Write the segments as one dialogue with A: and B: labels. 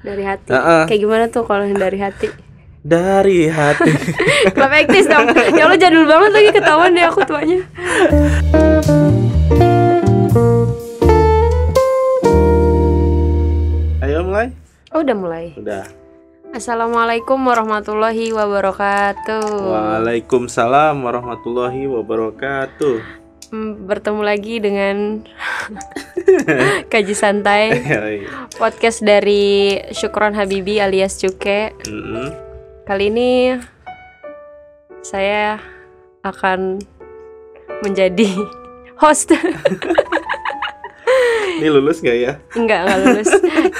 A: dari hati
B: Heeh.
A: kayak gimana tuh kalau yang dari hati
B: dari hati
A: klub eksis dong ya lo jadul banget lagi ketahuan deh aku tuanya
B: ayo mulai
A: oh udah mulai
B: udah
A: assalamualaikum warahmatullahi wabarakatuh
B: Waalaikumsalam warahmatullahi wabarakatuh
A: Hmm, bertemu lagi dengan kaji santai
B: Hei.
A: podcast dari Syukron Habibi alias Cuke
B: Mm-mm.
A: kali ini saya akan menjadi host
B: ini lulus gak ya
A: Enggak, enggak lulus.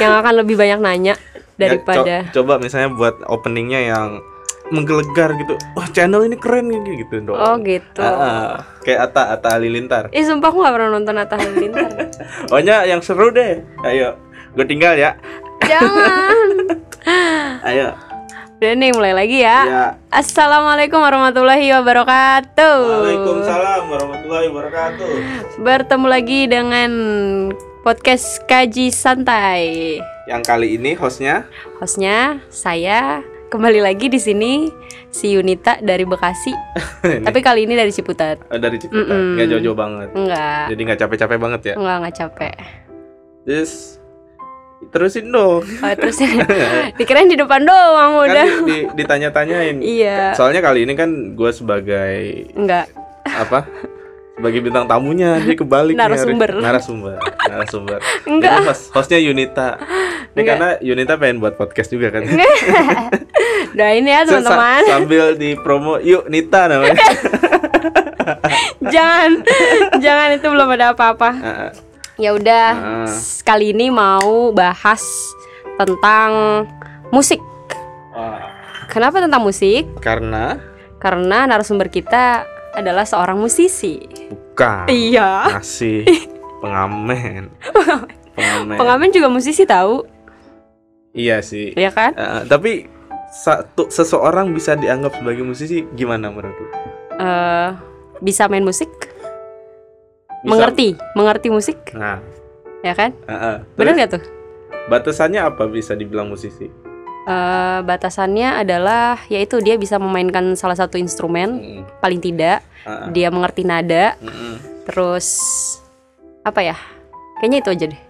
A: yang akan lebih banyak nanya
B: Ya, co-
A: daripada
B: coba misalnya buat openingnya yang menggelegar gitu wah channel ini keren nih, gitu dong
A: Oh, gitu.
B: Ah, ah. kayak Ata Ata Halilintar
A: Eh, sumpah aku gak pernah nonton Atta Halilintar.
B: ohnya yang seru deh ayo gue tinggal ya
A: Jangan.
B: ayo
A: Udah nih, mulai lagi ya.
B: ya
A: Assalamualaikum warahmatullahi wabarakatuh.
B: Waalaikumsalam warahmatullahi wabarakatuh
A: Bertemu lagi dengan podcast Kaji Santai.
B: yang kali ini hostnya
A: Hostnya saya kembali lagi di sini si Yunita dari Bekasi,
B: ini,
A: tapi kali ini dari Ciputat.
B: eh, dari Ciputat
A: Mm-mm.
B: nggak jauh-jauh banget
A: Enggak.
B: jadi nggak capek-capek banget ya
A: Enggak, enggak capek.
B: terus terusin dong
A: Oh, terus dikirain di depan doang
B: kan
A: udah.
B: di- ditanya-tanyain
A: Iya.
B: soalnya kali ini kan gue sebagai
A: Enggak.
B: apa sebagai bintang tamunya dia kebalik nih harus-
A: Narasumber.
B: narasumber narasumber
A: Enggak.
B: Jadi host- hostnya Yunita
A: Enggak.
B: ini karena Yunita pengen buat podcast juga kan
A: Udah ini ya
B: Terus sa-
A: teman-teman.
B: sambil di promo yuk Nita namanya
A: jangan jangan itu belum ada apa-apa.
B: Ah, ah.
A: Ya udah,
B: Ah.
A: s- kali ini mau bahas tentang musik.
B: Wah,
A: Kenapa tentang musik?
B: Ah, karena
A: Karena narasumber kita adalah seorang musisi.
B: bukan
A: Iya.
B: masih pengamen pengamen
A: Pengamen juga musisi tahu,
B: iya sih
A: ya kan?
B: Ah, tapi satu seseorang bisa dianggap sebagai musisi gimana menurut lu?
A: Eh, bisa main musik,
B: Bisa-
A: mengerti, mengerti musik,
B: nah
A: ya kan?
B: ah, ah.
A: Benar
B: Terus,
A: nggak tuh?
B: batasannya apa bisa dibilang musisi
A: Eh, batasannya adalah yaitu dia bisa memainkan salah satu instrumen
B: Mm,
A: paling tidak
B: ah, ah.
A: dia mengerti nada
B: Mm-mm.
A: terus apa ya kayaknya itu aja deh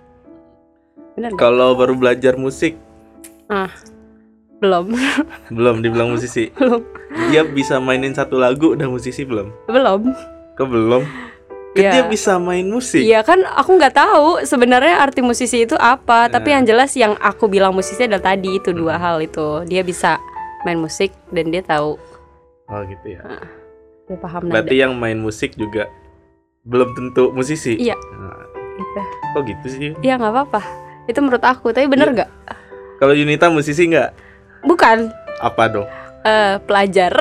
A: bener nggak?
B: Kalau baru belajar musik
A: belum
B: belum dibilang musisi.
A: Belum.
B: Dia bisa mainin satu lagu udah musisi belum?
A: belum
B: Ke belum? Ke
A: Iya.
B: Dia bisa main musik.
A: Iya kan aku nggak tahu sebenarnya arti musisi itu apa tapi
B: Nah.
A: yang jelas yang aku bilang musisi adalah tadi itu dua
B: Hmm.
A: hal itu dia bisa main musik dan dia tahu
B: Oh gitu ya.
A: dia paham nada
B: Berarti yang main musik juga belum tentu musisi.
A: Iya.
B: Nah,
A: gitu.
B: kok gitu sih?
A: ya nggak apa-apa itu menurut aku tapi bener
B: Iya.
A: nggak
B: Kalau Yunita musisi nggak?
A: bukan
B: Apa dong?
A: eh, pelajar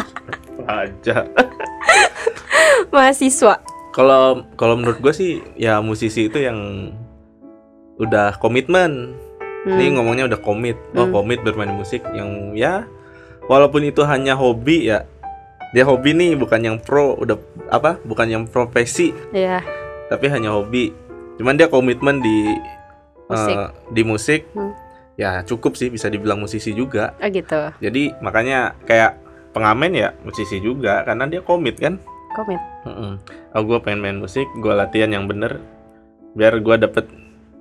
B: Aja.
A: mahasiswa
B: Kalau kalau menurut gue sih ya musisi itu yang udah komitmen. Ini
A: Hmm.
B: ngomongnya udah komit. Oh,
A: Hmm.
B: komit bermain musik yang ya walaupun itu hanya hobi ya. Dia hobi nih bukan yang pro udah apa? Bukan yang profesi,
A: ya
B: tapi hanya hobi. Cuman dia komitmen di eh,
A: Musik.
B: di musik.
A: Hmm.
B: Ya, cukup sih bisa dibilang musisi juga.
A: oh gitu
B: Jadi makanya kayak pengamen ya musisi juga karena dia komit kan.
A: komit
B: Heeh. Oh, gue pengen main musik, gua latihan yang bener biar gua dapet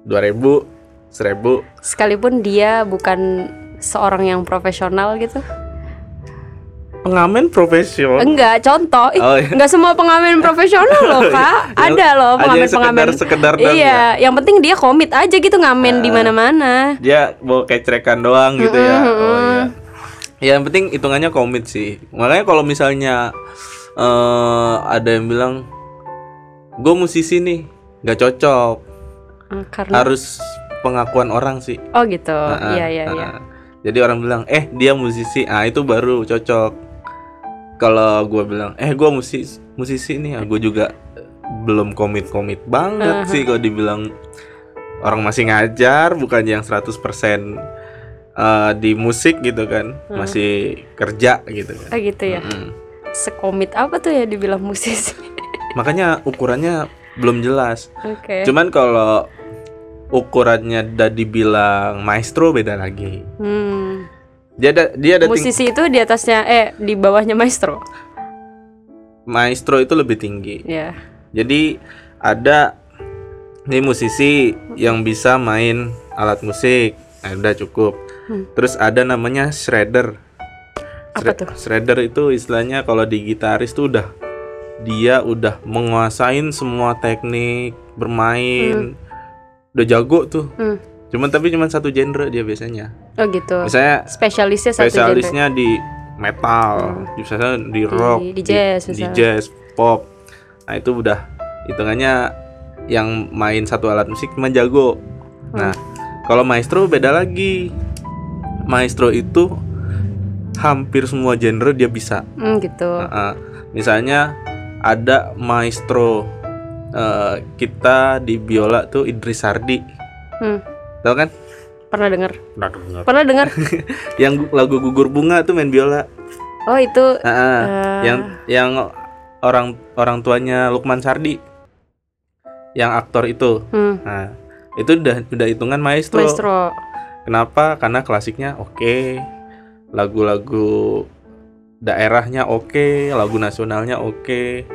B: 2000, 1000
A: sekalipun dia bukan seorang yang profesional gitu
B: pengamen profesional
A: enggak contoh Ih,
B: Oh, iya.
A: enggak semua pengamen profesional loh kak
B: Yang-
A: ada loh Oh,
B: Ada yang
A: pengamen pengamen
B: sekedar sekedar doang ya.
A: iya yang penting dia komit aja gitu ngamen di
B: Ah.
A: mana-mana
B: Dia bawa kecerekan doang gitu ya.
A: Mm-mm,
B: Oh
A: mm-mm.
B: iya. Ya, Yang penting hitungannya komit sih. Makanya kalau misalnya eh ada yang bilang gue musisi nih, nggak cocok.
A: Ah, karena
B: Harus pengakuan orang sih.
A: oh gitu
B: Heeh,
A: iya iya
B: heeh.
A: iya
B: Ah, Jadi orang bilang, "Eh, dia musisi." Ah, itu baru cocok. Kalau gua bilang, "Eh, gua musisi musisi nih." Ah, gua juga belum komit-komit banget sih
A: Uh-huh.
B: kalau dibilang orang masih ngajar, bukan yang 100% eh, di musik gitu kan.
A: Hmm.
B: Masih kerja gitu kan.
A: oh gitu ya
B: Mm-mm.
A: sekomit apa tuh ya dibilang musisi
B: Makanya ukurannya belum jelas.
A: oke
B: Cuman kalau ukurannya udah dibilang maestro beda lagi.
A: Hmm.
B: Dia ada dia ada ting-
A: Musisi itu di atasnya eh di bawahnya maestro.
B: maestro itu lebih tinggi.
A: Ya.
B: Jadi ada nih musisi yang bisa main alat musik, nah, udah cukup.
A: Hmm.
B: Terus ada namanya shredder.
A: Apa
B: Shre-
A: tuh?
B: Shredder itu istilahnya kalau di gitaris tuh udah dia udah menguasain semua teknik bermain, udah jago tuh.
A: Hmm.
B: Cuman tapi cuman satu genre dia biasanya.
A: Oh gitu.
B: Misalnya
A: Spesialisnya satu genre.
B: spesialisnya di metal, misalnya di rock,
A: di jazz
B: di,
A: misalnya.
B: jazz, pop. Nah itu udah hitungannya yang main satu alat musik cuma jago.
A: Hmm.
B: Nah kalau maestro beda lagi. Maestro itu hampir semua genre dia bisa.
A: Hmm, gitu.
B: Nah, misalnya ada maestro eh, kita di biola tuh Idris Sardi,
A: Hmm,
B: tau kan?
A: pernah dengar? Pernah dengar?
B: yang gu- lagu gugur bunga tuh main biola.
A: Oh, itu
B: Ah, ah.
A: eh,
B: yang yang orang orang tuanya Lukman Sardi yang aktor itu
A: hmm,
B: nah itu udah udah hitungan maestro,
A: maestro.
B: kenapa karena klasiknya oke lagu-lagu daerahnya oke lagu nasionalnya oke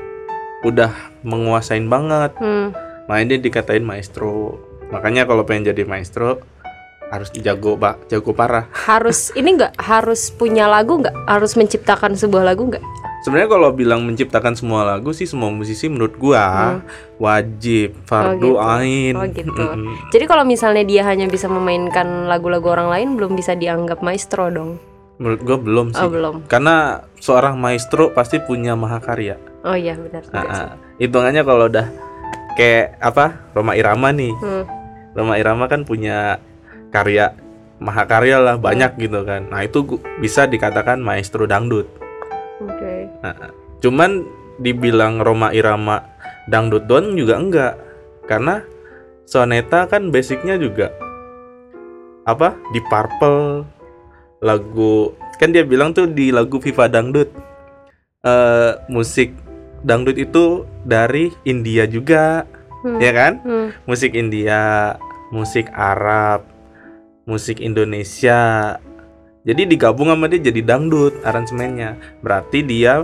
B: udah menguasain banget
A: Hmm.
B: mainnya dikatain maestro makanya kalau pengen jadi maestro harus jago pak jago parah
A: Harus ini enggak harus punya lagu enggak? Harus menciptakan sebuah lagu enggak?
B: sebenarnya kalau bilang menciptakan semua lagu sih semua musisi menurut gua wajib
A: gitu.
B: fardu ain
A: Hmm. Oh, gitu.
B: Mm-mm.
A: Jadi kalau misalnya dia hanya bisa memainkan lagu-lagu orang lain belum bisa dianggap maestro dong.
B: menurut gua belum sih
A: Oh, belum.
B: karena seorang maestro pasti punya mahakarya
A: Oh iya, benar. juga sih.
B: Nah, hitungannya kalau udah kayak apa Roma Irama nih
A: Hmm.
B: Roma Irama kan punya karya mahakarya lah banyak
A: Hmm.
B: gitu kan nah itu gu- bisa dikatakan maestro dangdut
A: Oke.
B: cuman dibilang Roma Irama dangdut doang juga enggak karena soneta kan basicnya juga apa di purple lagu kan dia bilang tuh di lagu Viva Dangdut eh musik dangdut itu dari India juga
A: Hmm.
B: ya kan
A: Hmm.
B: musik India musik Arab musik Indonesia jadi digabung sama dia jadi dangdut aransemennya berarti dia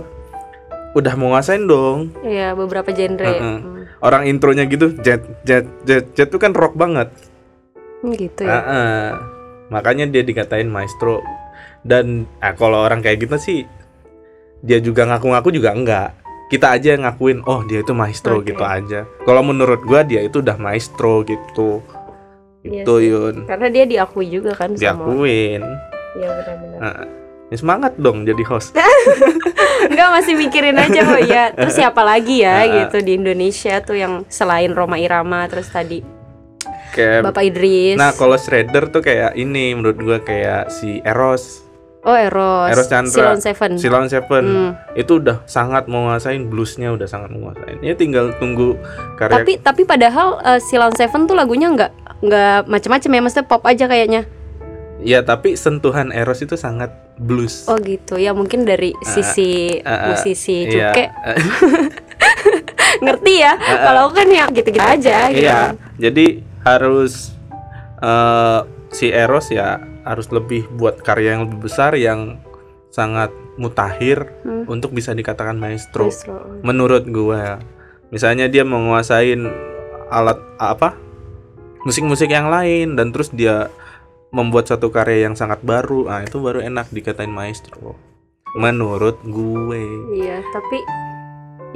B: udah menguasain dong
A: Iya, beberapa genre.
B: Mm-mm.
A: Hmm.
B: orang intronya gitu jet jet jet jet itu kan rock banget
A: Hmm, Gitu ya.
B: Ah-ah. makanya dia dikatain maestro dan ah, kalau orang kayak gitu sih dia juga ngaku-ngaku juga enggak kita aja yang ngakuin oh dia itu maestro
A: Oke.
B: gitu aja kalau menurut gua dia itu udah maestro gitu
A: Iya
B: itu
A: sih.
B: Yun
A: Karena dia diakui juga kan sama.
B: diakuin
A: Iya, benar-benar.
B: Ya, semangat dong jadi host
A: Enggak masih mikirin aja kok ya. Terus siapa lagi ya
B: Ah.
A: gitu di Indonesia tuh yang selain Roma Irama terus tadi
B: kayak
A: Bapak Idris.
B: Nah, kalau shredder tuh kayak ini menurut gua kayak si Eros,
A: oh Eros.
B: Eros Chandra.
A: Silon Seven.
B: Silon Seven.
A: Hmm.
B: Itu udah sangat menguasain bluesnya udah sangat menguasain. Ya tinggal tunggu karya
A: Tapi tapi padahal eh, Silon Seven tuh lagunya enggak enggak macam-macam ya maksudnya pop aja kayaknya.
B: Ya, tapi sentuhan Eros itu sangat blues.
A: Oh gitu. Ya mungkin dari sisi
B: ah, ah,
A: musisi
B: Eh, Iya. Eh,
A: cuke ngerti ya. Kalau aku kan ya gitu-gitu aja gitu.
B: Iya. Jadi harus eh, si Eros ya harus lebih buat karya yang lebih besar yang sangat mutakhir
A: Hmm.
B: untuk bisa dikatakan maestro.
A: Maestro.
B: menurut gua ya. misalnya dia menguasain alat apa musik-musik yang lain dan terus dia membuat satu karya yang sangat baru ah itu baru enak dikatain maestro menurut gue
A: Iya, tapi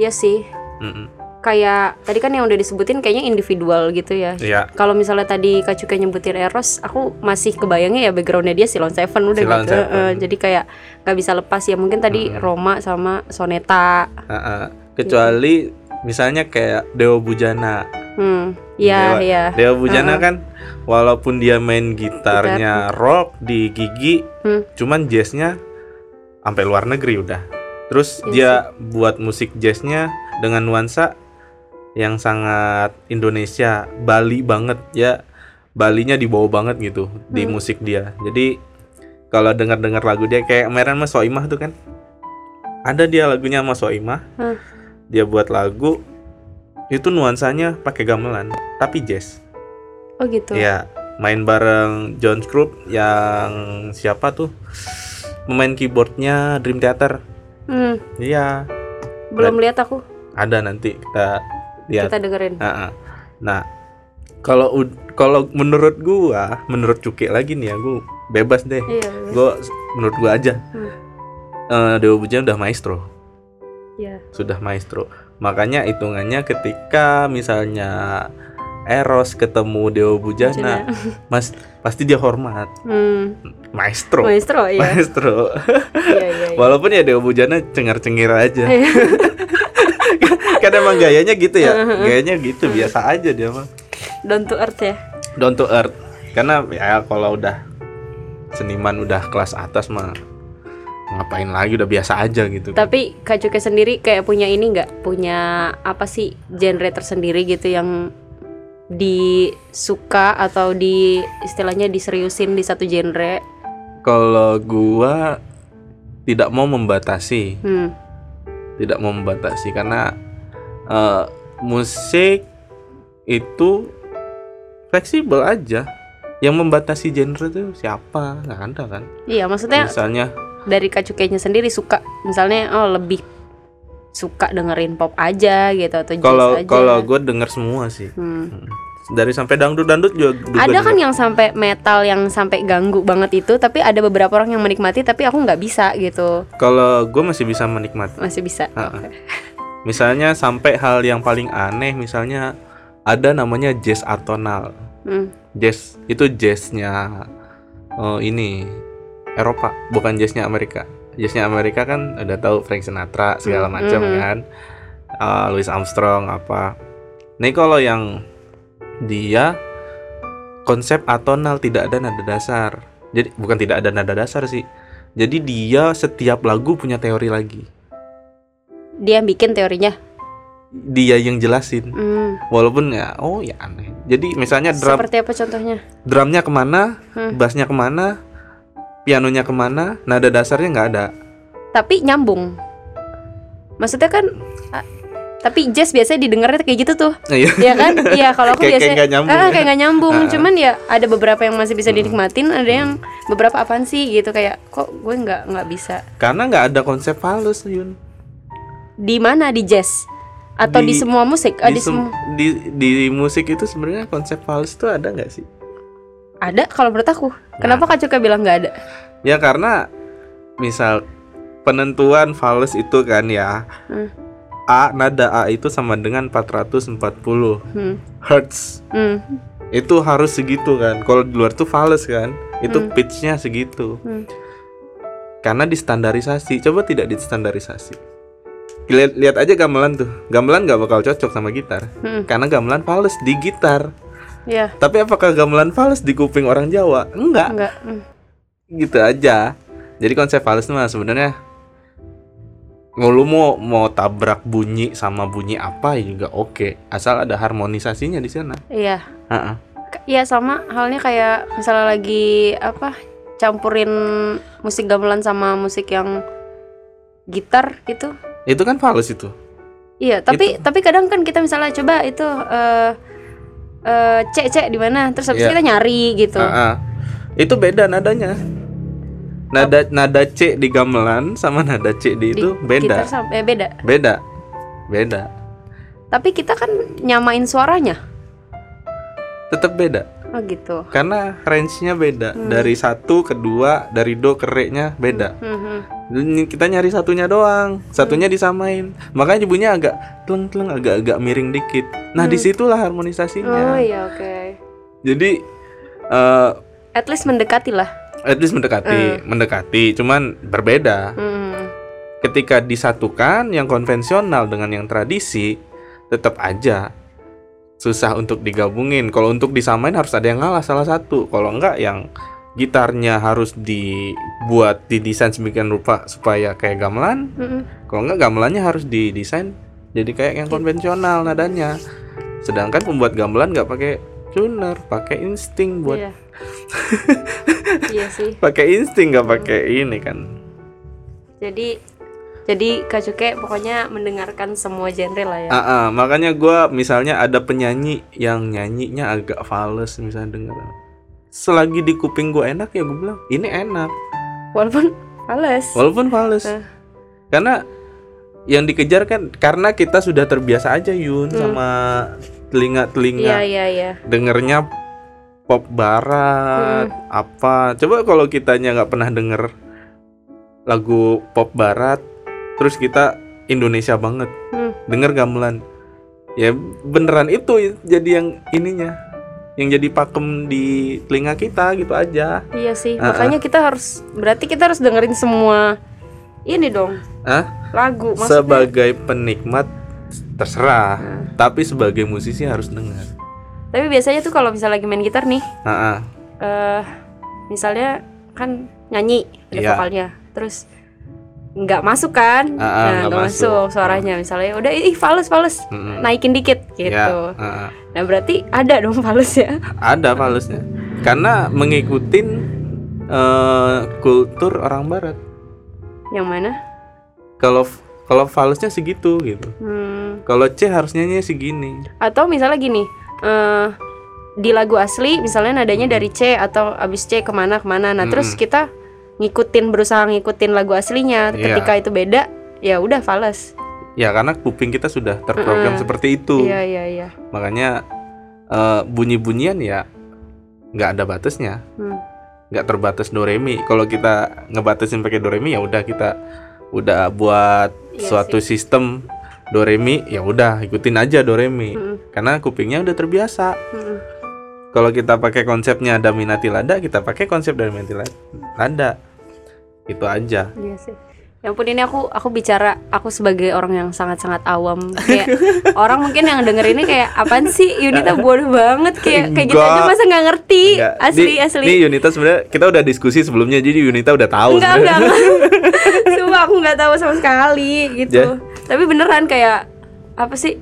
A: ya sih
B: Mm-mm.
A: kayak tadi kan yang udah disebutin kayaknya individual gitu ya.
B: ya
A: Kalau misalnya tadi Kak Cuka nyebutin Eros, aku masih kebayangnya ya backgroundnya dia Silon Seven udah
B: Silon
A: gitu.
B: Seven.
A: Eh, jadi kayak nggak bisa lepas ya mungkin tadi
B: Mm-mm.
A: Roma sama Soneta.
B: ah-ah. ah, kecuali misalnya kayak Dewa Bujana
A: Hmm, iya
B: Dewa-
A: iya.
B: Dewa Bujana kan walaupun dia main gitarnya rock di gigi,
A: Hmm.
B: cuman jazznya sampai luar negeri udah. Terus
A: Iya
B: dia buat musik jazznya dengan nuansa yang sangat Indonesia, Bali banget ya. Balinya dibawa banget gitu di
A: Hmm.
B: musik dia. Jadi kalau dengar-dengar lagu dia kayak kemarin Mas Soimah tuh kan. Ada dia lagunya Mas Soimah.
A: Hmm.
B: Dia buat lagu itu nuansanya pakai gamelan tapi jazz.
A: Oh gitu.
B: Iya, main bareng John Scrooge yang siapa tuh? Pemain keyboardnya Dream Theater.
A: Hmm,
B: Iya,
A: belum lihat aku.
B: ada nanti kita lihat.
A: Kita dengerin.
B: Heeh. Nah, kalau ud- kalau menurut gua, menurut Cuki lagi nih ya, gua bebas deh.
A: Iya.
B: Gua menurut gua aja.
A: Hmm.
B: Eh, Dewa Bujang udah maestro,
A: Iya.
B: sudah maestro. Makanya hitungannya ketika misalnya Eros ketemu Dewa
A: ya.
B: Bujana, Mas pasti dia hormat.
A: Hmm.
B: Maestro.
A: Maestro, iya.
B: Maestro.
A: Iya, iya. iya.
B: Walaupun ya Dewa Bujana cengar-cengir aja.
A: Iya.
B: kan emang gayanya gitu ya.
A: Iya.
B: Gayanya gitu biasa aja dia mah.
A: Down to earth ya.
B: Down to earth. Karena ya kalau udah seniman udah kelas atas mah ngapain lagi udah biasa aja gitu.
A: Tapi Kak Cuke sendiri kayak punya ini nggak? Punya apa sih genre tersendiri gitu yang disuka atau di istilahnya diseriusin di satu genre?
B: Kalau gua tidak mau membatasi,
A: Hmm.
B: tidak mau membatasi karena eh, musik itu fleksibel aja. Yang membatasi genre itu siapa? Nggak ada kan?
A: Iya, maksudnya
B: Misalnya
A: dari Kak Cukenya sendiri suka misalnya oh lebih suka dengerin pop aja gitu atau jazz
B: kalau
A: aja.
B: kalau gue denger semua sih
A: Hmm.
B: dari sampai dangdut dangdut juga gua
A: ada kan
B: denger.
A: yang sampai metal yang sampai ganggu banget itu tapi ada beberapa orang yang menikmati tapi aku nggak bisa gitu
B: kalau gue masih bisa menikmati
A: masih bisa
B: Ha-ha. misalnya sampai hal yang paling aneh misalnya ada namanya jazz atonal
A: Hmm.
B: jazz itu jazznya eh, ini Eropa bukan jazznya Amerika jazznya Amerika kan udah tahu Frank Sinatra segala
A: Hmm,
B: macam
A: mhm.
B: kan Eh, Louis Armstrong apa nih kalau yang dia konsep atonal tidak ada nada dasar jadi bukan tidak ada nada dasar sih jadi dia setiap lagu punya teori lagi
A: dia bikin teorinya
B: dia yang jelasin
A: Hmm.
B: walaupun ya oh ya aneh jadi misalnya drum
A: seperti apa contohnya
B: drumnya kemana,
A: Hmm.
B: bassnya kemana, pianonya kemana, nada dasarnya nggak ada.
A: tapi nyambung maksudnya kan a- tapi jazz biasanya didengarnya kayak gitu tuh
B: Nah, iya.
A: ya kan iya kalau aku
B: Kayak- kayak
A: biasanya
B: nggak nyambung
A: Ah,
B: ya.
A: kayak nggak nyambung
B: Ah.
A: cuman ya ada beberapa yang masih bisa
B: Hmm.
A: dinikmatin ada yang beberapa apaan sih gitu kayak kok gue nggak nggak bisa
B: Karena nggak ada konsep halus Yun.
A: di mana di jazz atau di,
B: Di-
A: semua musik Ah, di,
B: sem-
A: semua
B: di, di musik itu sebenarnya konsep halus tuh ada nggak sih?
A: ada kalau menurut aku kenapa kak Cuka bilang nggak ada
B: Ya karena misal penentuan falus itu kan ya
A: Hmm.
B: A nada A itu sama dengan 440
A: hmm.
B: hertz
A: Hmm.
B: itu harus segitu kan kalau di luar tuh falus kan itu
A: Hmm.
B: pitchnya segitu
A: Hmm.
B: karena distandarisasi coba tidak distandarisasi lihat lihat aja gamelan tuh gamelan nggak bakal cocok sama gitar
A: Hmm.
B: karena gamelan falus di gitar
A: ya
B: tapi apakah gamelan falus di kuping orang Jawa enggak
A: nggak Hmm.
B: gitu aja jadi konsep falus tuh mah sebenarnya mau lu mau mau tabrak bunyi sama bunyi apa ya juga oke asal ada harmonisasinya di sana
A: iya
B: Ha-ha.
A: K- Iya sama halnya kayak misalnya lagi apa campurin musik gamelan sama musik yang gitar gitu.
B: itu kan falus itu
A: Iya, tapi
B: Gitu.
A: tapi kadang kan kita misalnya coba itu eh eh, cek cek di mana, terus habis
B: Iya.
A: kita nyari gitu.
B: Ah, ah. Itu beda nadanya. Nada nada C di gamelan sama nada C di,
A: Di
B: itu
A: Gitar
B: beda.
A: sama eh, beda.
B: Beda. Beda.
A: Tapi kita kan nyamain suaranya.
B: Tetap beda
A: Oh gitu.
B: karena range-nya beda.
A: Hmm.
B: Dari satu ke dua, dari do ke re-nya beda.
A: Mhm.
B: Ini Kita nyari satunya doang, satunya
A: Hmm.
B: disamain. Makanya bunyinya agak teleng-teleng agak-agak miring dikit. Nah, disitulah
A: Hmm. Oh
B: harmonisasinya.
A: iya oke.
B: Jadi eh
A: At least mendekati lah.
B: at least
A: Hmm.
B: mendekati, mendekati, cuman berbeda.
A: Mhm.
B: ketika disatukan yang konvensional dengan yang tradisi tetap aja susah untuk digabungin kalau untuk disamain harus ada yang ngalah salah satu kalau enggak yang gitarnya harus dibuat didesain semikian rupa supaya kayak gamelan
A: Mhm.
B: kalau enggak gamelannya harus didesain jadi kayak yang konvensional nadanya sedangkan pembuat gamelan nggak pakai tuner pakai insting buat
A: Iya. iya sih.
B: pakai insting nggak pakai ini kan
A: Jadi Jadi Kak Cuke pokoknya mendengarkan semua genre lah ya.
B: Ah, ah, makanya gua misalnya ada penyanyi yang nyanyinya agak fals misalnya denger selagi di kuping gua enak ya gua bilang ini enak
A: Walaupun males.
B: walaupun fals
A: Eh.
B: karena yang dikejar kan karena kita sudah terbiasa aja Yun sama telinga telinga
A: Hmm. Iya iya iya.
B: dengernya pop barat
A: Hmm.
B: apa coba kalau kitanya nggak pernah denger lagu pop barat terus kita Indonesia banget
A: Hmm.
B: denger gamelan ya beneran itu jadi yang ininya yang jadi pakem di telinga kita gitu aja
A: Iya sih.
B: Ah,
A: Makanya kita harus berarti kita harus dengerin semua ini dong.
B: Hah?
A: Lagu maksudnya.
B: sebagai penikmat terserah
A: Hmm.
B: tapi sebagai musisi harus denger
A: Tapi biasanya tuh kalau misalnya lagi main gitar nih,
B: Ah, ah.
A: eh misalnya kan nyanyi ada
B: Iya.
A: vokalnya. Terus nggak masuk kan?
B: Ah, ah,
A: nah,
B: nggak
A: nggak
B: masuk. Ah.
A: masuk. suaranya misalnya. Udah ih fals fals.
B: Mm-mm.
A: Naikin dikit gitu.
B: Ya, ah, ah.
A: Nah, berarti ada dong fals ya.
B: ada falsnya karena mengikutin eh, kultur orang barat
A: Yang mana?
B: kalau kalau falsnya segitu gitu
A: Hmm.
B: kalau C harusnya segini
A: atau misalnya gini eh di lagu asli misalnya nadanya dari C atau abis C kemana kemana nah terus
B: Mm-mm.
A: kita ngikutin berusaha ngikutin lagu aslinya
B: Iya.
A: ketika itu beda ya udah fales
B: ya karena kuping kita sudah terprogram
A: Mm-mm.
B: seperti itu
A: iya iya iya
B: makanya eh, bunyi-bunyian ya nggak ada batasnya
A: Hmm.
B: nggak terbatas doremi kalau kita ngebatasin pakai doremi ya udah kita udah buat
A: Iya
B: suatu sistem doremi ya udah ikutin aja doremi
A: Mm-mm.
B: karena kupingnya udah terbiasa
A: Mm-mm.
B: kalau kita pakai konsepnya ada minati lada kita pakai konsep dari minati la- lada itu aja
A: iya sih ya ampun ini aku aku bicara aku sebagai orang yang sangat sangat awam kayak orang mungkin yang denger ini kayak apaan sih Yunita bodoh banget kayak kayak gitu aja
B: Enggak.
A: masa nggak ngerti
B: Nggak,
A: asli
B: ini-
A: asli
B: ini Yunita sebenarnya kita udah diskusi sebelumnya jadi Yunita udah tahu
A: Enggak,
B: sebenarnya.
A: enggak, enggak. Sumpah aku nggak tahu sama sekali gitu.
B: Ya.
A: Tapi beneran kayak apa sih?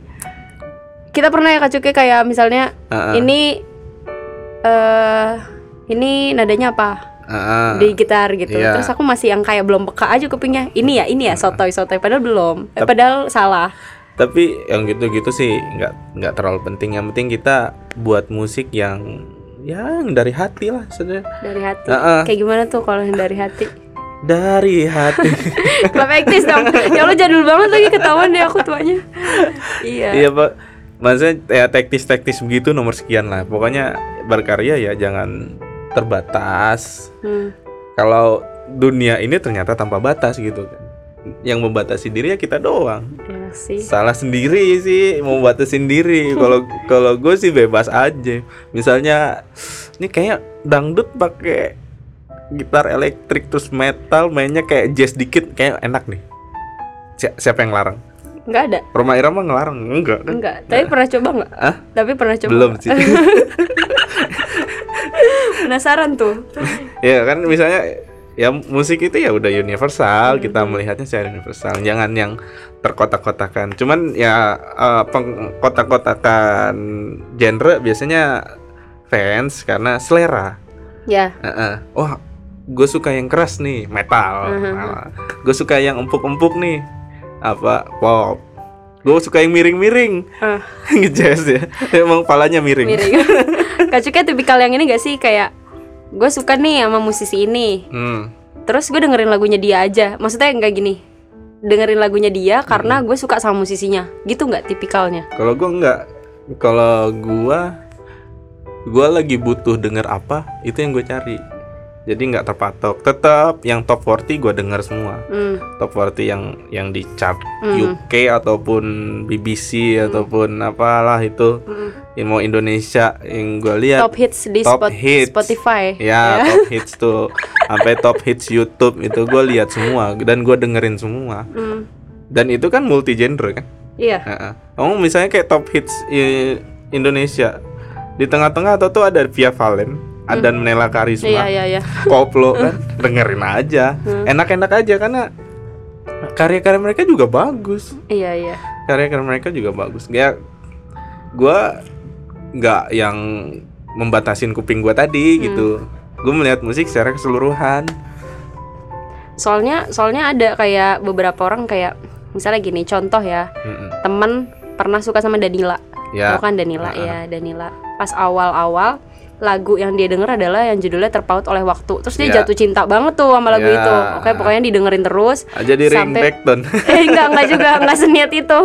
A: Kita pernah ya Kak Cuke kayak misalnya
B: Ah, ah.
A: ini eh ini nadanya apa?
B: Ah, ah.
A: Di gitar gitu.
B: Iya.
A: Terus aku masih yang kayak belum peka aja kupingnya. Ini ya, ini ya sotoy-sotoy padahal belum. Eh, padahal salah.
B: tapi yang gitu-gitu sih nggak nggak terlalu penting yang penting kita buat musik yang yang dari hati lah sebenarnya
A: Dari hati.
B: Ah, ah.
A: Kayak gimana tuh kalau yang dari hati?
B: dari hati
A: Klub eksis dong. ya lo jadul banget lagi ketahuan deh aku tuanya. Iya.
B: iya pak maksudnya ya teknis-teknis begitu nomor sekian lah pokoknya berkarya ya jangan terbatas
A: Hmm.
B: kalau dunia ini ternyata tanpa batas gitu kan yang membatasi diri ya kita doang
A: Iya sih.
B: salah sendiri sih mau batasin diri kalau kalau gue sih bebas aja misalnya ini kayak dangdut pakai gitar elektrik terus metal mainnya kayak jazz dikit kayak enak nih Si- siapa yang larang
A: Enggak ada.
B: Roma Irama ngelarang enggak kan
A: Enggak, tapi pernah coba enggak?
B: Hah?
A: Tapi pernah coba.
B: belum
A: nggak?
B: sih
A: Penasaran tuh.
B: ya kan misalnya ya musik itu ya udah
A: Hmm.
B: universal kita melihatnya secara universal jangan yang terkotak-kotakan cuman ya eh, pengkotak-kotakan genre biasanya fans karena selera
A: ya,
B: Heeh. wah gue suka yang keras nih metal
A: Mhm.
B: gue suka yang empuk-empuk nih apa pop gue suka yang miring-miring
A: Ah.
B: jazz ya emang palanya miring,
A: miring. Kak Cuka tipikal yang ini gak sih kayak gue suka nih sama musisi ini.
B: Hmm.
A: Terus gue dengerin lagunya dia aja. Maksudnya enggak gini. Dengerin lagunya dia
B: Hmm.
A: karena gue suka sama musisinya. Gitu nggak tipikalnya?
B: Kalau gua enggak, kalau gua gua lagi butuh denger apa, itu yang gue cari. Jadi nggak terpatok. Tetap yang top 40 gua denger semua.
A: Hmm.
B: Top 40 yang yang di chart
A: Hmm.
B: UK ataupun BBC ataupun apalah itu.
A: Hmm.
B: Yang mau Indonesia yang gua lihat
A: Ya, Top hits di
B: Top
A: Spot-
B: hits.
A: Spotify.
B: ya top hits tuh sampai top hits YouTube itu gua lihat semua dan gua dengerin semua.
A: Hmm.
B: Dan itu kan multi genre kan.
A: Iya.
B: Heeh. Kamu misalnya kayak top hits i- Indonesia di tengah-tengah atau tuh ada Via Valen, ada Nela Karisma,
A: Iya, Hmm. iya, iya.
B: Koplo kan, dengerin aja, enak-enak aja karena karya-karya mereka juga bagus,
A: Iya, iya.
B: karya-karya mereka juga bagus. Ya, gua nggak yang
A: Hmm.
B: membatasin kuping gua tadi gitu, gue melihat musik secara keseluruhan.
A: soalnya soalnya ada kayak beberapa orang kayak misalnya gini contoh ya
B: Mm-mm.
A: temen pernah suka sama Danila
B: Ya.
A: Tau kan Danila
B: Heeh.
A: ya Danila pas awal-awal lagu yang dia denger adalah yang judulnya terpaut oleh waktu terus dia
B: Ya.
A: jatuh cinta banget tuh sama lagu
B: Ya.
A: itu oke pokoknya didengerin terus
B: Jadi
A: Sampai-
B: ringback ton.
A: eh enggak enggak juga enggak seniat itu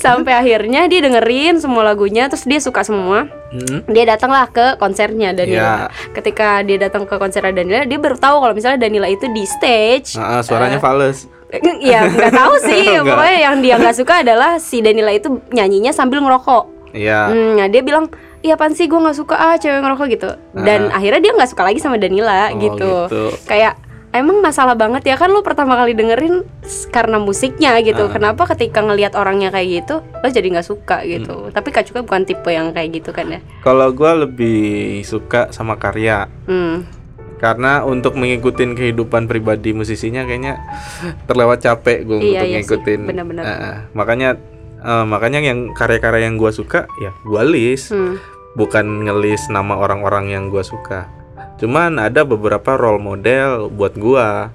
A: sampai akhirnya dia dengerin semua lagunya terus dia suka semua
B: Mm.
A: dia datanglah ke konsernya Danila.
B: Ya.
A: Ketika dia datang ke konser Danila, dia baru tahu kalau misalnya Danila itu di stage.
B: Ah, ah,
A: Eh.
B: suaranya fals.
A: Iya, nggak tahu sih.
B: Nggak.
A: Pokoknya yang dia nggak suka adalah si Danila itu nyanyinya sambil ngerokok.
B: Iya.
A: Hmm, nah dia bilang, iya apaan sih gue nggak suka ah cewek ngerokok gitu. Dan akhirnya dia nggak suka lagi sama Danila
B: Ah. Oh,
A: gitu.
B: gitu.
A: Kayak emang masalah banget ya kan lo pertama kali dengerin s- karena musiknya gitu. Kenapa ketika ngelihat orangnya kayak gitu lo jadi nggak suka gitu? Tapi Kak Cuka bukan tipe yang kayak gitu kan ya?
B: Kalau gua lebih suka sama karya
A: Hmm.
B: karena untuk mengikuti kehidupan pribadi musisinya kayaknya terlewat capek gue
A: Iya,
B: untuk
A: iya sih.
B: ngikutin
A: Benar-benar.
B: Ah, ah. makanya eh, makanya yang karya-karya yang gua suka ya gua list
A: Hmm.
B: bukan ngelis nama orang-orang yang gua suka cuman ada beberapa role model buat gua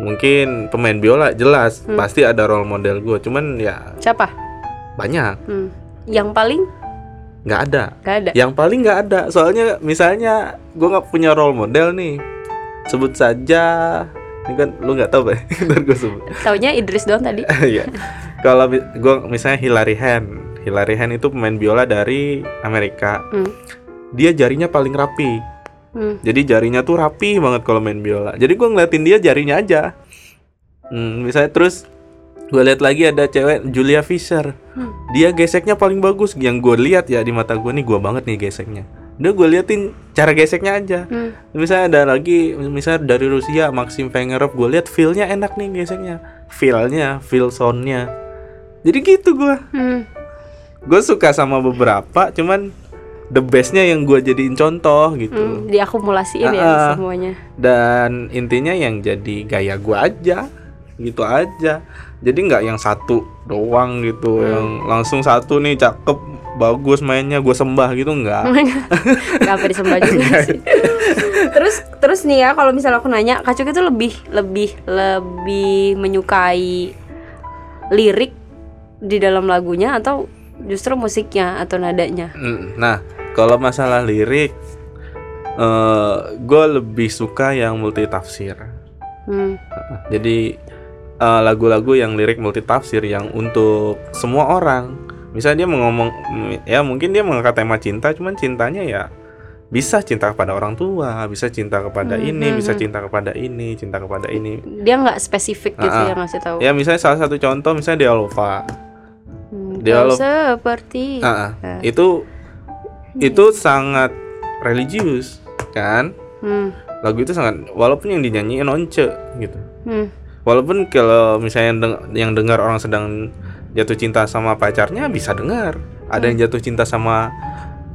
B: mungkin pemain biola jelas
A: Hmm.
B: pasti ada role model gua cuman ya
A: Siapa?
B: banyak
A: Hmm. Yang paling
B: nggak ada
A: gak ada.
B: yang paling nggak ada soalnya misalnya gua nggak punya role model nih sebut saja ini kan lu nggak tahu Pak. ntar gue sebut
A: Taunya Idris doang tadi.
B: ya kalau mi- gua misalnya Hillary Han Hillary Han itu pemain biola dari Amerika
A: Hmm.
B: dia jarinya paling rapi
A: Hmm.
B: jadi jarinya tuh rapi banget kalau main biola jadi gua ngeliatin dia jarinya aja hmm, misalnya terus gua lihat lagi ada cewek Julia Fisher
A: Hmm.
B: dia geseknya paling bagus yang gue lihat ya di mata gue nih gue banget nih geseknya udah gue liatin cara geseknya aja
A: Hmm.
B: misalnya ada lagi misalnya dari Rusia Maxim Vengerov gue lihat feelnya enak nih geseknya feelnya feel soundnya jadi gitu gue
A: Hmm.
B: gue suka sama beberapa cuman the bestnya yang gue jadiin contoh gitu
A: Hmm. Diakumulasiin
B: Ah, ah.
A: ya semuanya.
B: dan intinya yang jadi gaya gua aja gitu aja jadi nggak yang satu doang gitu yang langsung satu nih cakep bagus mainnya gue sembah gitu
A: Hmm. Oh
B: nggak
A: Gak apa disembah juga sih. terus terus nih ya kalau misalnya aku nanya, Kak Cuka itu lebih lebih lebih menyukai lirik di dalam lagunya atau justru musiknya atau nadanya?
B: Mm, nah kalau masalah lirik eh gue lebih suka yang multi tafsir
A: Hmm.
B: jadi eh, lagu-lagu yang lirik multi tafsir yang untuk semua orang misalnya dia mengomong ya mungkin dia mengangkat tema cinta cuman cintanya ya bisa cinta kepada orang tua bisa cinta kepada
A: Hmm,
B: ini
A: hmm,
B: bisa
A: hmm.
B: cinta kepada ini cinta kepada ini
A: Dia nggak spesifik gitu
B: Ah, ah.
A: ya ngasih tahu.
B: ya misalnya salah satu contoh misalnya Dialova
A: Hmm,
B: dia
A: kau
B: lo-
A: seperti
B: Ah, ah.
A: Ah.
B: itu
A: Hmm.
B: itu sangat religius kan
A: Hmm.
B: lagu itu sangat walaupun yang dinyanyiin once gitu
A: Hmm.
B: Walaupun kalau misalnya yang deng- yang dengar orang sedang jatuh cinta sama pacarnya bisa dengar. Ada
A: Hmm.
B: yang jatuh cinta sama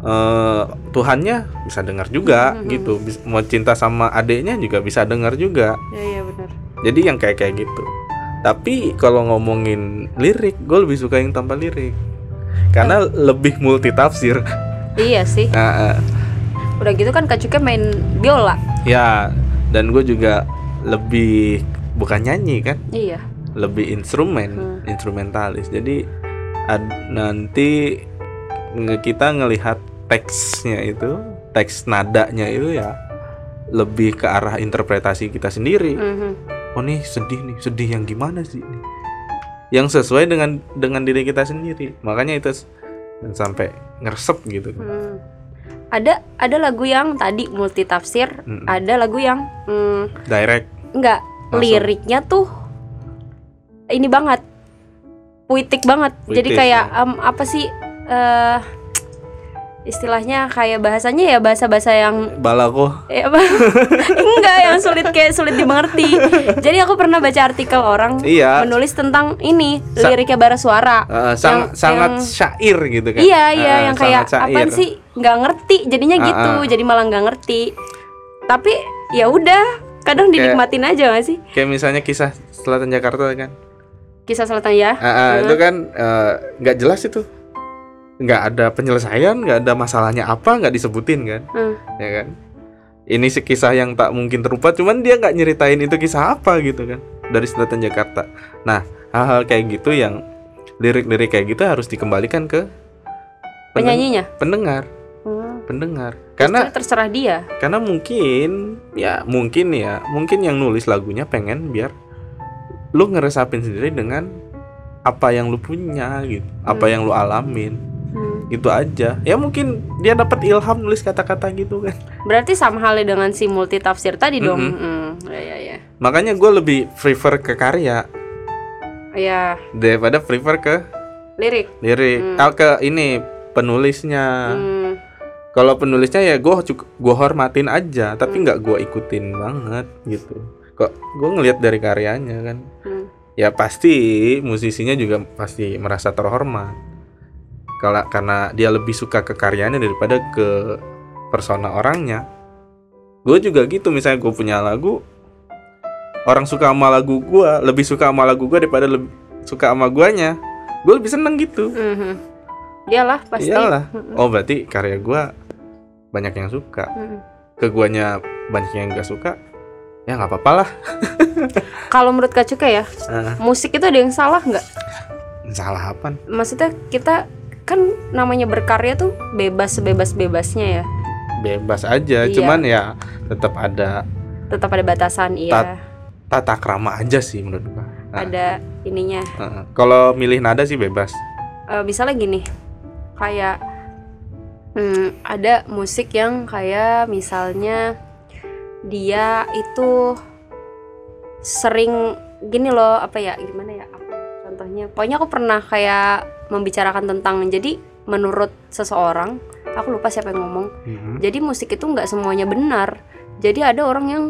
B: eh, Tuhannya bisa dengar juga
A: Hmm.
B: gitu. Bis- Mau cinta sama adeknya juga bisa dengar juga.
A: Ya ya benar.
B: Jadi yang kayak kayak gitu. Tapi kalau ngomongin lirik, gue lebih suka yang tanpa lirik. Karena
A: Eh.
B: lebih Nah, eh, multi tafsir.
A: Iya sih. Udah gitu kan Kak Cuka main biola.
B: ya, dan gue juga lebih bukan nyanyi kan.
A: Iya.
B: lebih
A: Hmm.
B: instrumen instrumentalis jadi ad- nanti nge- kita ngelihat teksnya itu teks nadanya itu ya lebih ke arah interpretasi kita sendiri
A: Mhm.
B: oh nih sedih nih sedih yang gimana sih ini? yang sesuai dengan dengan diri kita sendiri makanya itu s- sampai ngeresep gitu
A: Hmm. Ada ada lagu yang tadi multi tafsir,
B: Mm-mm.
A: ada lagu yang mm,
B: direct
A: enggak
B: Langsung.
A: liriknya tuh ini banget puitik banget. Jadi
B: Puitis,
A: kayak
B: ya.
A: em, apa sih eh istilahnya kayak bahasanya ya bahasa-bahasa yang
B: balako
A: eh, apa? enggak yang sulit kayak sulit dimengerti. Jadi aku pernah baca artikel orang
B: iya
A: menulis tentang ini
B: Sa-
A: liriknya bara suara.
B: eh,
A: Yang-
B: sang- sangat
A: yang-
B: syair gitu kan
A: Iya iya
B: Eh,
A: yang
B: sangat
A: kayak
B: syair.
A: apaan sih nggak ngerti jadinya
B: Ah,
A: gitu
B: ah.
A: jadi malah nggak ngerti tapi ya udah kadang
B: Kayak-
A: dinikmatin aja gak sih
B: kayak misalnya kisah selatan Jakarta kan
A: kisah selatan ya
B: Ah, ah,
A: Mhm.
B: itu kan eh, nggak jelas itu nggak ada penyelesaian nggak ada masalahnya apa nggak disebutin kan
A: Hmm.
B: ya kan ini sih kisah yang tak mungkin terlupa cuman dia nggak nyeritain itu kisah apa gitu kan dari selatan Jakarta nah hal-hal kayak gitu yang lirik-lirik kayak gitu harus dikembalikan ke pendeng-
A: penyanyinya
B: pendengar
A: Hmm.
B: pendengar
A: Karena
B: karena
A: terserah dia
B: karena mungkin ya mungkin ya mungkin yang nulis lagunya pengen biar lu ngeresapin sendiri dengan apa yang lu punya gitu apa
A: Hmm.
B: yang lu alamin
A: Hmm.
B: itu aja ya mungkin dia dapat ilham nulis kata-kata gitu kan
A: berarti sama halnya dengan si multi tafsir tadi dong
B: Mm-mm.
A: Hmm, ya ya ya
B: makanya gue lebih prefer ke karya
A: ya
B: daripada prefer ke
A: lirik Hmm.
B: lirik ah, ke ini penulisnya
A: Hmm.
B: kalau penulisnya ya gue gue hormatin aja
A: Hmm.
B: tapi nggak gue ikutin banget gitu kok gue ngelihat dari karyanya kan
A: Hmm.
B: ya pasti musisinya juga pasti merasa terhormat kalau karena dia lebih suka ke karyanya daripada ke persona orangnya gue juga gitu misalnya gue punya lagu orang suka sama lagu gue lebih suka sama lagu gue daripada lebih suka sama guanya gue lebih seneng gitu
A: Mhm. Iyalah pasti. Hmm.
B: iyalah
A: Mm-mm.
B: oh berarti karya gue banyak yang suka
A: Mm-mm.
B: ke guanya banyak yang gak suka ya nggak apa-apa lah
A: Kalau menurut Kak Cuka ya, musik itu ada yang salah nggak?
B: salah apa
A: Maksudnya kita kan namanya berkarya tuh bebas sebebas bebasnya ya,
B: bebas aja
A: Iya.
B: cuman ya tetap ada
A: tetap ada batasan iya,
B: tata krama aja sih menurut gua. nah.
A: ada ininya.
B: Heeh. Kalau milih nada sih bebas.
A: Eh, misalnya gini, kayak hmm, ada musik yang kayak misalnya dia itu sering gini loh apa ya gimana ya apa contohnya pokoknya aku pernah kayak membicarakan tentang jadi menurut seseorang aku lupa siapa yang ngomong
B: Mm-hmm.
A: jadi musik itu nggak semuanya benar jadi ada orang yang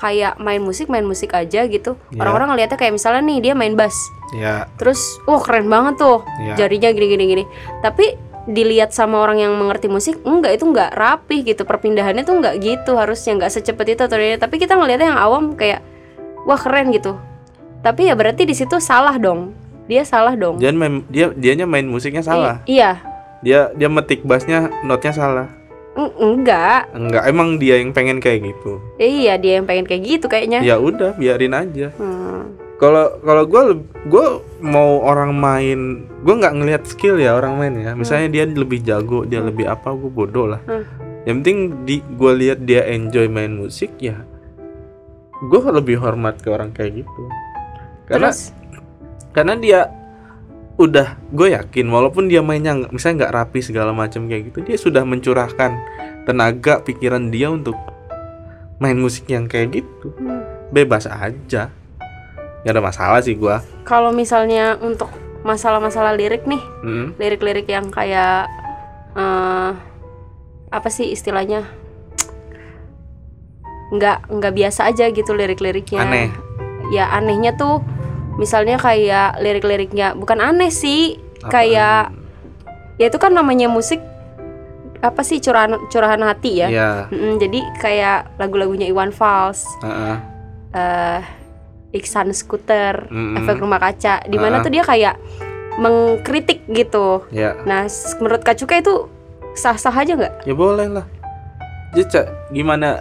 A: kayak main musik main musik aja gitu
B: Iya.
A: orang-orang ngeliatnya kayak misalnya nih dia main bass
B: Ya,
A: terus wah keren banget tuh
B: ya.
A: jarinya gini gini gini tapi dilihat sama orang yang mengerti musik enggak itu enggak rapih gitu perpindahannya tuh enggak gitu harusnya enggak secepat itu ternyata tapi kita ngelihatnya yang awam kayak wah keren gitu tapi ya berarti di situ salah dong dia salah dong
B: Jangan main- dia dianya main musiknya salah.
A: I- iya
B: Dia dia metik bassnya notnya salah.
A: Eng- enggak
B: Enggak, emang dia yang pengen kayak gitu.
A: iya dia yang pengen kayak gitu kayaknya
B: Ya udah, biarin aja.
A: Hmm.
B: Kalau kalau gua leb- gua mau orang main, gua nggak ngelihat skill ya orang main ya. Misalnya dia lebih jago, dia lebih apa, gua bodoh lah.
A: Hmm.
B: Yang penting di gua lihat dia enjoy main musik ya. Gua lebih hormat ke orang kayak gitu. Karena
A: terus
B: karena dia udah gue yakin walaupun dia mainnya nggak- misalnya nggak rapi segala macam kayak gitu dia sudah mencurahkan tenaga pikiran dia untuk main musik yang kayak gitu
A: hmm,
B: bebas aja nggak ada masalah sih gue
A: kalau misalnya untuk masalah-masalah lirik nih
B: Mm.
A: lirik-lirik yang kayak eh apa sih istilahnya nggak nggak biasa aja gitu lirik-liriknya
B: aneh
A: ya anehnya tuh misalnya kayak lirik-liriknya bukan aneh sih
B: Apaan?
A: kayak ya itu kan namanya musik apa sih curahan curahan hati
B: ya,
A: ya Mm, jadi kayak lagu-lagunya Iwan Fals
B: heeh.
A: eh Iksan Scooter
B: Mm-mm.
A: efek rumah kaca di mana
B: Hmm. Ah.
A: tuh dia kayak mengkritik gitu
B: ya
A: Nah, s- menurut Kak Cuka itu sah-sah aja nggak?
B: ya boleh lah Jadi, Cak, gimana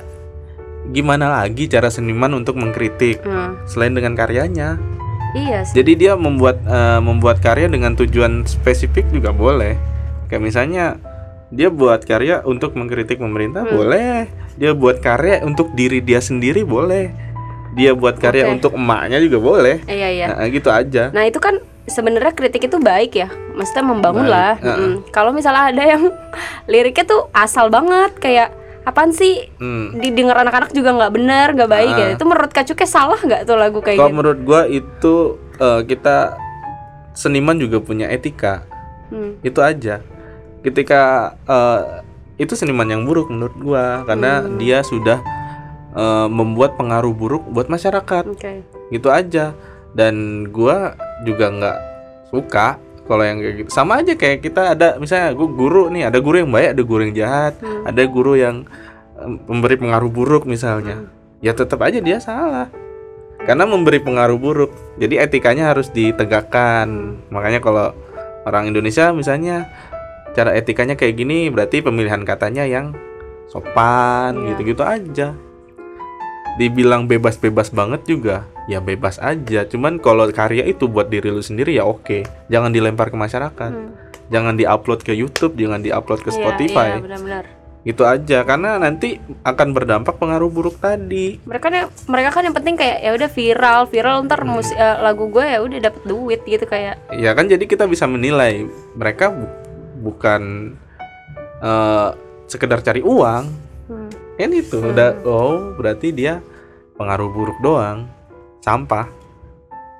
B: gimana lagi cara seniman untuk mengkritik selain dengan karyanya
A: Iya sih.
B: Hmm. Jadi dia membuat eh, membuat karya dengan tujuan spesifik juga boleh. Kayak misalnya dia buat karya untuk mengkritik pemerintah
A: Hmm.
B: boleh. Dia buat karya untuk diri dia sendiri boleh. Dia buat karya
A: Oke.
B: untuk emaknya juga boleh.
A: Eh, iya iya.
B: Nah, gitu aja.
A: Nah, itu kan sebenarnya kritik itu baik ya. Maksudnya membangun
B: Baik,
A: lah.
B: heeh.
A: Mm-mm. Kalau misalnya ada yang liriknya tuh asal banget kayak apaan sih
B: Hmm.
A: didengar anak-anak juga nggak benar, nggak baik ya.
B: Ah.
A: Itu menurut Kak Cuka salah nggak tuh lagu kayak
B: Kalau
A: gitu?
B: menurut gua itu eh, kita seniman juga punya etika.
A: Hmm.
B: Itu aja. Ketika eh, itu seniman yang buruk menurut gua karena
A: Hmm.
B: dia sudah eh, membuat pengaruh buruk buat masyarakat.
A: Oke.
B: gitu aja dan gua juga nggak suka kalau yang kayak gitu sama aja kayak kita ada misalnya gua guru nih ada guru yang baik ada guru yang jahat
A: Hmm.
B: ada guru yang em, memberi pengaruh buruk
A: Hmm.
B: misalnya ya tetap aja dia salah karena memberi pengaruh buruk jadi etikanya harus ditegakkan makanya kalau orang Indonesia misalnya cara etikanya kayak gini berarti pemilihan katanya yang sopan
A: Iya.
B: gitu-gitu aja dibilang bebas-bebas banget juga ya bebas aja cuman kalau karya itu buat diri lu sendiri ya oke jangan dilempar ke masyarakat
A: Hmm.
B: jangan diupload ke YouTube jangan diupload ke
A: Iya,
B: Spotify
A: iya, benar-benar
B: itu aja karena nanti akan berdampak pengaruh buruk tadi
A: mereka kan mereka kan yang penting kayak ya udah viral viral ntar
B: Hmm.
A: mus- eh, lagu gue ya udah dapet duit gitu kayak
B: ya kan jadi kita bisa menilai mereka bu- bukan eh, sekedar cari uang
A: hmm,
B: kan itu udah oh berarti dia pengaruh buruk doang sampah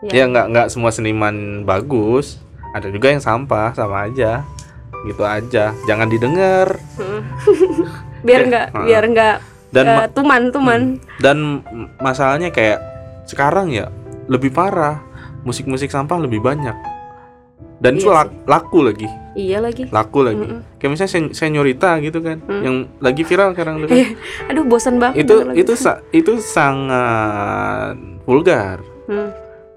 A: Iya.
B: ya nggak nggak semua seniman bagus ada juga yang sampah sama aja gitu aja jangan didengar
A: Hmm. biar
B: Ya,
A: nggak
B: heeh.
A: biar nggak
B: dan
A: eh,
B: ma-
A: tuman tuman
B: dan m- masalahnya kayak sekarang ya lebih parah musik-musik sampah lebih banyak dan itu
A: Iya
B: lak- laku lagi
A: iya lagi
B: laku lagi kayak misalnya sen- seniorita gitu kan yang lagi viral sekarang tuh kan.
A: aduh bosan banget
B: itu
A: denger lagu.
B: itu sa- itu sangat vulgar
A: Hmm.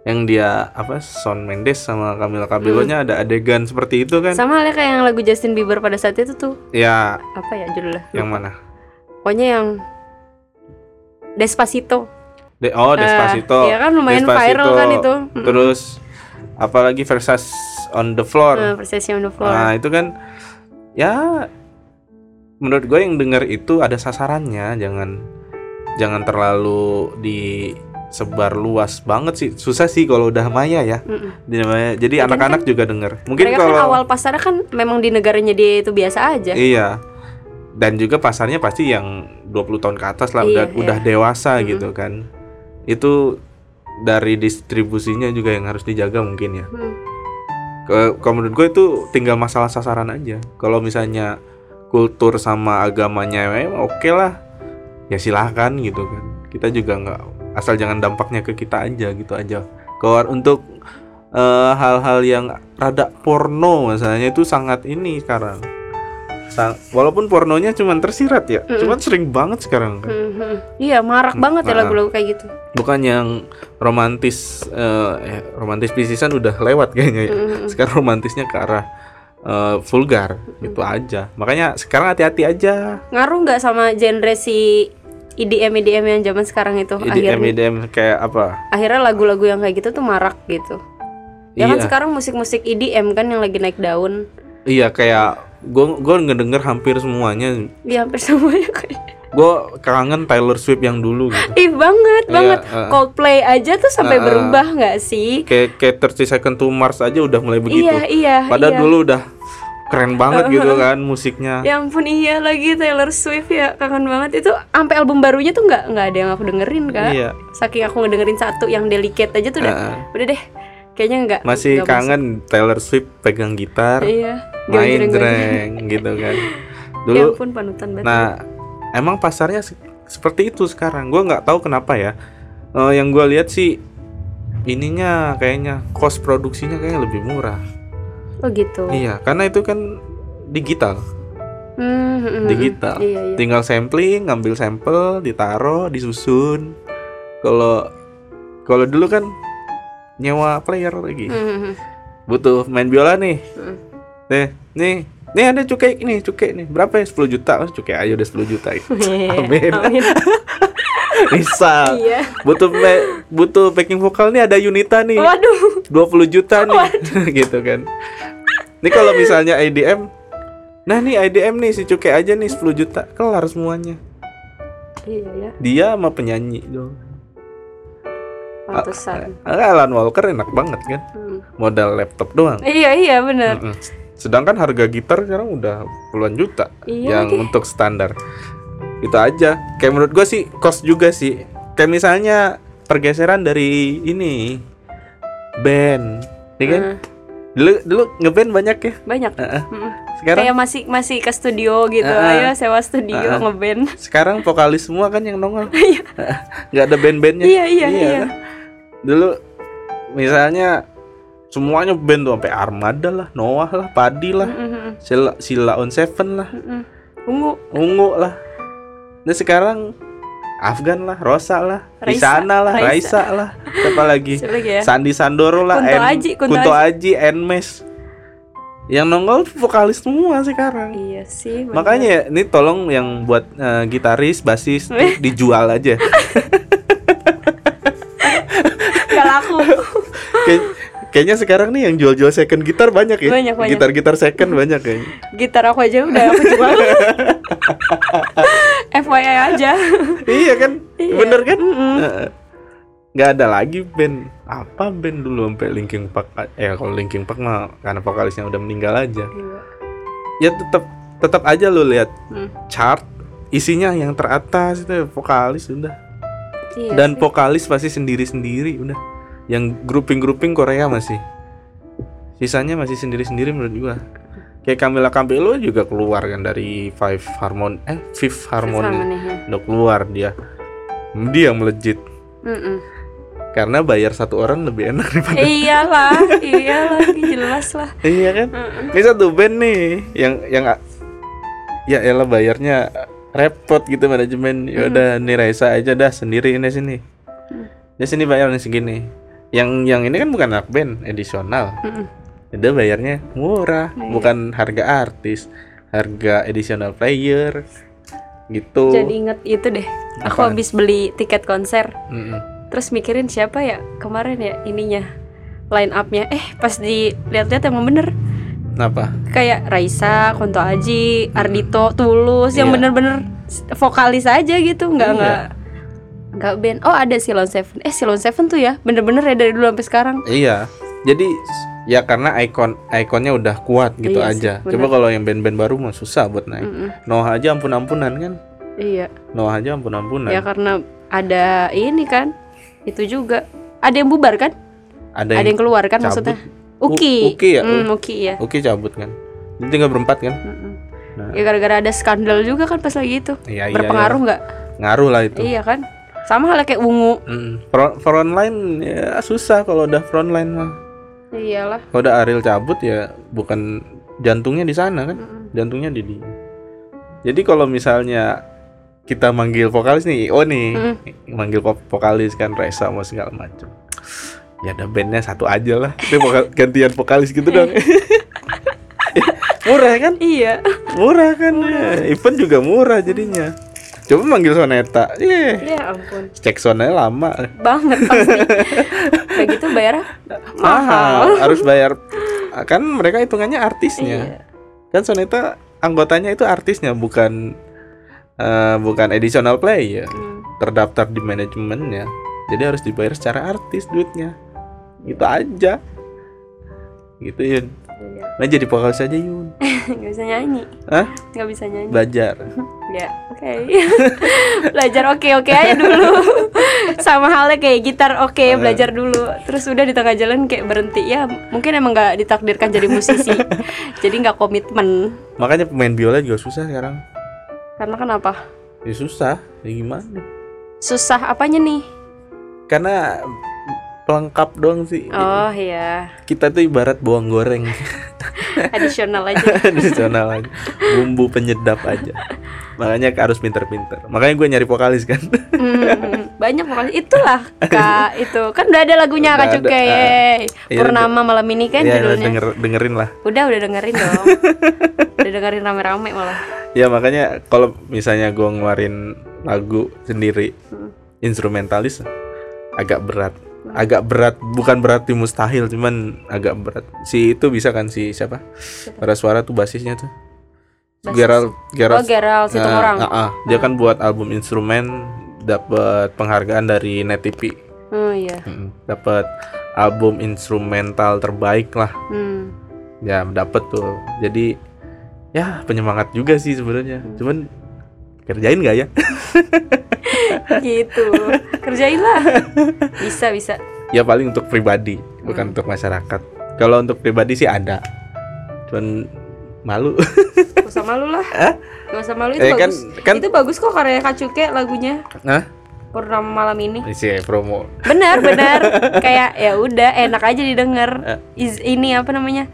B: yang dia apa Shawn Mendes sama Camila Cabello nya ada adegan seperti itu kan
A: sama halnya kayak yang lagu Justin Bieber pada saat itu tuh
B: ya
A: apa ya judulnya
B: yang mana
A: pokoknya yang Despacito
B: De- oh
A: Eh,
B: Despacito
A: iya kan, lumayan viral kan itu. Mm-mm.
B: terus apalagi Versace on the floor
A: eh, Versace on the floor
B: Nah, itu kan ya menurut gue yang denger itu ada sasarannya, jangan jangan terlalu disebar luas banget sih. Susah sih kalau udah maya ya.
A: Mm-mm.
B: Di maya. Jadi
A: Ya, kan-
B: anak-anak juga denger. Mungkin
A: mereka
B: kalau
A: kan awal ya. pasarnya kan memang di negaranya dia itu biasa aja
B: iya. Dan juga pasarnya pasti yang 20 tahun ke atas
A: Iya,
B: lah, udah
A: iya.
B: udah dewasa
A: Mm-mm.
B: gitu kan. Itu dari distribusinya juga yang harus dijaga mungkin ya.
A: Hmm.
B: Ke- kalau menurut gue itu tinggal masalah sasaran aja kalau misalnya kultur sama agamanya eh, oke lah ya silahkan gitu kan kita juga nggak asal jangan dampaknya ke kita aja gitu aja kalau untuk eh, hal-hal yang rada porno misalnya itu sangat ini sekarang Sa- walaupun pornonya cuman tersirat ya
A: Mm-mm.
B: cuman sering banget sekarang kan
A: Hmm, hmm. iya marak
B: Hmm,
A: banget ya
B: nah.
A: lagu-lagu kayak gitu
B: bukan yang romantis eh, eh, romantis pisisan udah lewat kayaknya ya
A: Hmm, hmm.
B: sekarang romantisnya ke arah eh, vulgar
A: Mm-hmm.
B: gitu aja makanya sekarang hati-hati aja
A: ngaruh nggak sama genre si E EDM EDM yang zaman sekarang itu
B: IDM
A: Oh, akhirnya
B: IDM M&M kayak apa
A: akhirnya lagu-lagu yang kayak gitu tuh marak gitu ya kan
B: Iya.
A: sekarang musik-musik EDM kan yang lagi naik daun
B: iya kayak gue gue ngedenger hampir semuanya
A: ya hampir semuanya kayak
B: gue kangen Taylor Swift yang dulu gitu
A: ih banget
B: Iya,
A: banget
B: eh.
A: Coldplay aja tuh sampai
B: Eh, eh.
A: berubah nggak sih
B: kayak kayak 30 Second to Mars aja udah mulai begitu
A: iya iya iya.
B: padahal dulu udah keren banget gitu kan musiknya
A: ya ampun iya lagi Taylor Swift ya kangen banget itu sampai album barunya tuh nggak nggak ada yang aku dengerin kak
B: Iya.
A: saking aku ngedengerin satu yang delicate aja tuh udah
B: Eh, eh.
A: udah deh kayaknya nggak nggak
B: masih
A: masuk.
B: kangen Taylor Swift pegang gitar
A: iya
B: main
A: Gojreng-gojreng.
B: jreng gitu kan
A: ya
B: dulu
A: ampun panutan banget
B: Nah, emang pasarnya se- seperti itu sekarang. Gua nggak tahu kenapa ya. Eh, yang gua lihat sih ininya kayaknya cost produksinya kayaknya lebih murah.
A: oh gitu
B: Iya, karena itu kan digital,
A: Hmm, hmm, hmm,
B: digital.
A: hmm. iya, iya.
B: Tinggal sampling, ngambil sampel, ditaruh, disusun. Kalau kalau dulu kan nyewa player lagi.
A: Hmm, hmm, hmm.
B: Butuh main biola nih.
A: Hmm.
B: Nih, nih, nih ada cukek nih, cukek nih. Berapa ya? 10 juta. Oh, cukek aja udah 10 juta. Amin.
A: Amin.
B: Bisa.
A: iya
B: butuh pe- butuh backing vokal nih ada Yunita nih
A: waduh
B: 20 juta nih gitu kan ini kalau misalnya IDM nah nih IDM nih si Cuke aja nih 10 juta kelar semuanya
A: iya ya
B: dia sama penyanyi dong
A: pantesan
B: Ah, Alan Walker enak banget kan
A: Hmm.
B: modal laptop doang
A: iya iya benar
B: Mm-mm. sedangkan harga gitar sekarang udah puluhan juta
A: Iya
B: yang untuk standar itu aja kayak menurut gue sih cost juga sih kayak misalnya pergeseran dari ini band ya kan
A: Hmm.
B: dulu dulu ngeband banyak ya
A: banyak
B: Heeh.
A: Hmm.
B: sekarang
A: kayak masih masih ke studio gitu
B: Ah, ah.
A: ayo sewa studio
B: Ah, ah.
A: ngeband
B: sekarang vokalis semua kan yang nongol nggak ada band-bandnya
A: Iya, iya, iya.
B: kan? dulu misalnya semuanya band tuh sampai Armada lah Noah lah Padi lah
A: Hmm, hmm,
B: Sila, Sila on Seven lah
A: hmm, hmm. ungu
B: Ungu lah. Nah sekarang Afgan lah, Rosa lah,
A: Raisa,
B: Risana lah, Raisa,
A: Raisa.
B: lah, siapa lagi?
A: siapa lagi ya
B: Sandi Sandoro lah,
A: Kunto
B: En-
A: Aji, Kunto
B: Kunto Aji, Enmes. yang nongol tuh vokalis semua sekarang
A: Iya sih. bener.
B: makanya ini tolong yang buat eh, gitaris basis tuh dijual aja
A: Gak laku.
B: Kay- kayaknya sekarang nih yang jual-jual second gitar banyak ya
A: Banyak, banyak.
B: gitar-gitar second banyak kayaknya
A: Gitar aku aja udah aku jual. FYI aja.
B: iya kan
A: Iya.
B: bener kan
A: Mm-mm.
B: Heeh. nggak ada lagi band apa band dulu sampai Linkin Park eh kalau Linkin Park mah karena vokalisnya udah meninggal aja
A: Iya.
B: ya tetap tetap aja lu lihat
A: Hmm.
B: chart isinya yang teratas itu ya, vokalis udah
A: Iya
B: dan
A: sih.
B: vokalis pasti sendiri-sendiri udah yang grouping-grouping Korea masih sisanya masih sendiri-sendiri menurut gua kayak Camila Cabello juga keluar kan dari Five Harmon eh Fifth Harmony
A: Harmoninya.
B: udah keluar dia dia yang melejit
A: Mm-mm.
B: karena bayar satu orang lebih enak daripada
A: iyalah, iyalah, jelas lah.
B: iya kan
A: Mm-mm.
B: ini satu band nih yang yang ya elah bayarnya repot gitu manajemen ya udah nih Raisa aja dah sendiri ini sini
A: Mm.
B: dia sini bayar nih segini yang yang ini kan bukan anak band edisional
A: Mm-mm.
B: udah bayarnya murah
A: Iya.
B: bukan harga artis harga edisional player gitu
A: Jadi inget itu deh. Aku
B: Apaan?
A: habis beli tiket konser,
B: Mm-mm.
A: terus mikirin siapa ya kemarin ya ininya line upnya. Eh pas dilihat-lihat emang bener
B: kenapa
A: kayak Raisa, Konto Aji, Ardito, Tulus yang
B: Iya.
A: bener-bener s- vokalis aja gitu, nggak
B: Iya.
A: nggak nggak band. Oh ada Silon Seven, eh Silon Seven tuh ya bener-bener ya dari dulu sampai sekarang.
B: Iya. Jadi s- ya karena ikon ikonnya udah kuat gitu
A: Iya sih,
B: aja.
A: benar.
B: Coba kalau yang band-band baru mah susah buat naik.
A: Mm-mm.
B: Noah aja ampun-ampunan kan.
A: Iya,
B: Noah aja ampun-ampunan.
A: ya karena ada ini kan, itu juga ada yang bubar kan, ada
B: ada
A: yang
B: yang
A: keluar kan
B: cabut.
A: maksudnya.
B: U-
A: Uki,
B: Uki ya?
A: Mm, Uki ya.
B: Oke cabut kan. Jadi tinggal berempat kan.
A: Mm-mm.
B: Nah.
A: Ya gara-gara ada skandal juga kan pas lagi itu.
B: Iya, iya,
A: Berpengaruh nggak?
B: Ngaruh lah itu.
A: Iya kan? Sama halnya kayak ungu.
B: Mm. Front, line ya susah kalau udah front line mah.
A: Iyalah.
B: Kalau Oh, udah Ariel cabut ya bukan jantungnya di sana kan.
A: Mm-mm.
B: Jantungnya di dia. Jadi kalau misalnya kita manggil vokalis nih, oh nih,
A: Mm.
B: manggil pop- vokalis kan Reza mau segala macam ya ada bandnya satu aja lah itu vokal- gantian vokalis gitu dong murah kan
A: Iya.
B: murah kan ya. event juga murah jadinya coba manggil soneta Yeay.
A: Ya ampun.
B: cek sonnya lama
A: Banget pasti. kayak gitu bayarnya mahal.
B: harus bayar kan mereka hitungannya
A: Iya.
B: artisnya kan soneta anggotanya itu artisnya bukan eh, bukan additional player
A: Hmm.
B: terdaftar di manajemennya jadi harus dibayar secara artis duitnya gitu aja gitu Yun
A: Iya.
B: nah jadi vokalis aja Yun
A: Nggak bisa nyanyi.
B: Hah?
A: Nggak bisa nyanyi.
B: belajar
A: Ya, oke. belajar oke-oke aja dulu. Sama halnya kayak gitar oke, belajar dulu. Terus udah di tengah jalan kayak berhenti. Ya, mungkin emang nggak ditakdirkan jadi musisi. jadi nggak komitmen.
B: makanya pemain biola juga susah sekarang
A: Karena kenapa?
B: ya susah ya gimana
A: Susah apanya nih?
B: karena pelengkap doang sih
A: Oh iya,
B: kita tuh ibarat bawang goreng
A: additional aja.
B: nasional aja bumbu penyedap aja makanya harus pinter-pinter makanya gue nyari vokalis kan
A: Hmm, banyak pokoknya itulah Kak itu. Kan udah ada lagunya
B: Udah
A: Kak Cuke.
B: ada, ah.
A: yeay.
B: Iya,
A: Purnama malam ini kan
B: ya
A: judulnya.
B: denger- dengerin lah
A: Udah udah dengerin dong. udah dengerin rame-rame malah.
B: Ya makanya kalau misalnya gua ngeluarin lagu sendiri
A: Hmm.
B: instrumentalis agak berat. Agak berat bukan berarti mustahil cuman agak berat. Si itu bisa kan si siapa? Pada suara tuh basisnya tuh.
A: Basis.
B: Gerald
A: Oh,
B: Gerald
A: Gerald Hmm. situ
B: Nah,
A: orang.
B: ah, ah. Dia kan buat album instrumen dapat penghargaan dari Net TV.
A: Oh iya.
B: Mm, Dapat album instrumental terbaik lah.
A: Hmm.
B: ya dapet tuh jadi ya penyemangat juga sih sebenarnya cuman kerjain nggak ya
A: Gitu. Kerjainlah. Bisa bisa.
B: ya paling untuk pribadi bukan untuk masyarakat kalau untuk pribadi sih ada cuman malu
A: Gak usah malu lah. Gak usah malu itu
B: Eh, kan
A: bagus.
B: kan
A: Itu bagus kok karya Kak Cuke lagunya
B: Hah?
A: Purnama malam ini.
B: isi promo
A: Benar, benar. Kayak ya udah enak aja didengar.
B: Eh.
A: Iz- ini apa namanya?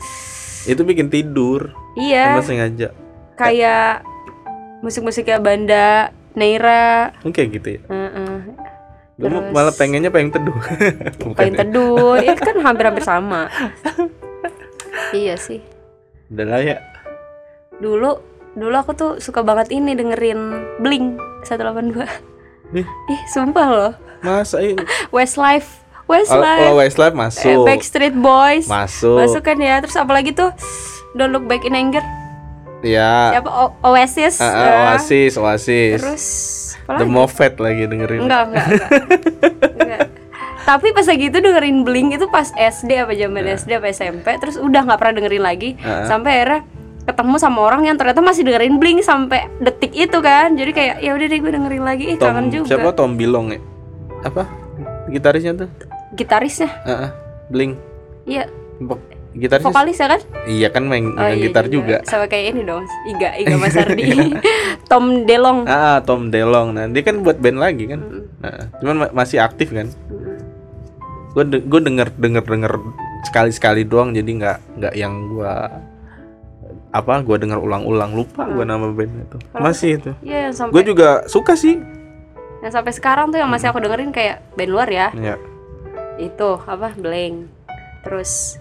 B: itu bikin tidur
A: Iya,
B: emang sengaja
A: kayak musik-musik kayak Banda, Neira,
B: Kan kayak gitu ya
A: heeh,
B: Gua mau-
A: Terus-
B: malah pengennya pengen teduh Bukan
A: Payung
B: ya.
A: Teduh, itu kan hampir-hampir sama. iya sih.
B: Udah lah ya.
A: dulu dulu aku tuh suka banget ini dengerin Blink 182
B: Nih.
A: ih sumpah loh
B: Mas, ayo.
A: Westlife
B: Kalau
A: Westlife eh,
B: Westlife Oh, masuk.
A: Backstreet Boys
B: Masuk.
A: masuk kan ya terus apalagi tuh Don't Look Back in Anger
B: Ya.
A: apa O- Oasis
B: Ah, ah,
A: eh,
B: Oasis, Oasis.
A: terus apa
B: The
A: lagi?
B: Moffat lagi dengerin.
A: enggak enggak, enggak. Enggak. tapi pas lagi itu dengerin Blink itu pas SD apa zaman SD apa SMP terus udah nggak pernah dengerin lagi
B: Ah.
A: sampai akhirnya ketemu sama orang yang ternyata masih dengerin Blink sampai detik itu kan jadi kayak ya udah deh gue dengerin lagi ih
B: Tom,
A: kangen juga
B: siapa Tom Bilong ya? Apa? Gitarisnya tuh?
A: gitarisnya
B: Ah, ah, Blink.
A: iya
B: Vo- Gitarisnya.
A: vokalis ya kan
B: Iya kan main,
A: Oh,
B: main
A: iya
B: gitar juga. Iya.
A: sama kayak ini dong Iga Iga Mas Ardi Tom Delong Mm,
B: Ah, ah, Tom Delong. Nah, dia kan buat band lagi kan. Nah, cuman ma- masih aktif kan. Gue gue denger denger denger sekali sekali doang, jadi nggak nggak yang gua apa gua denger ulang-ulang lupa gua nama band itu.
A: Hmm. Kalau-
B: Masih itu.
A: Iya yang
B: Gue
A: sampai
B: juga suka sih.
A: yang sampai sekarang tuh yang masih aku dengerin kayak band luar ya
B: Ya,
A: itu apa Blank terus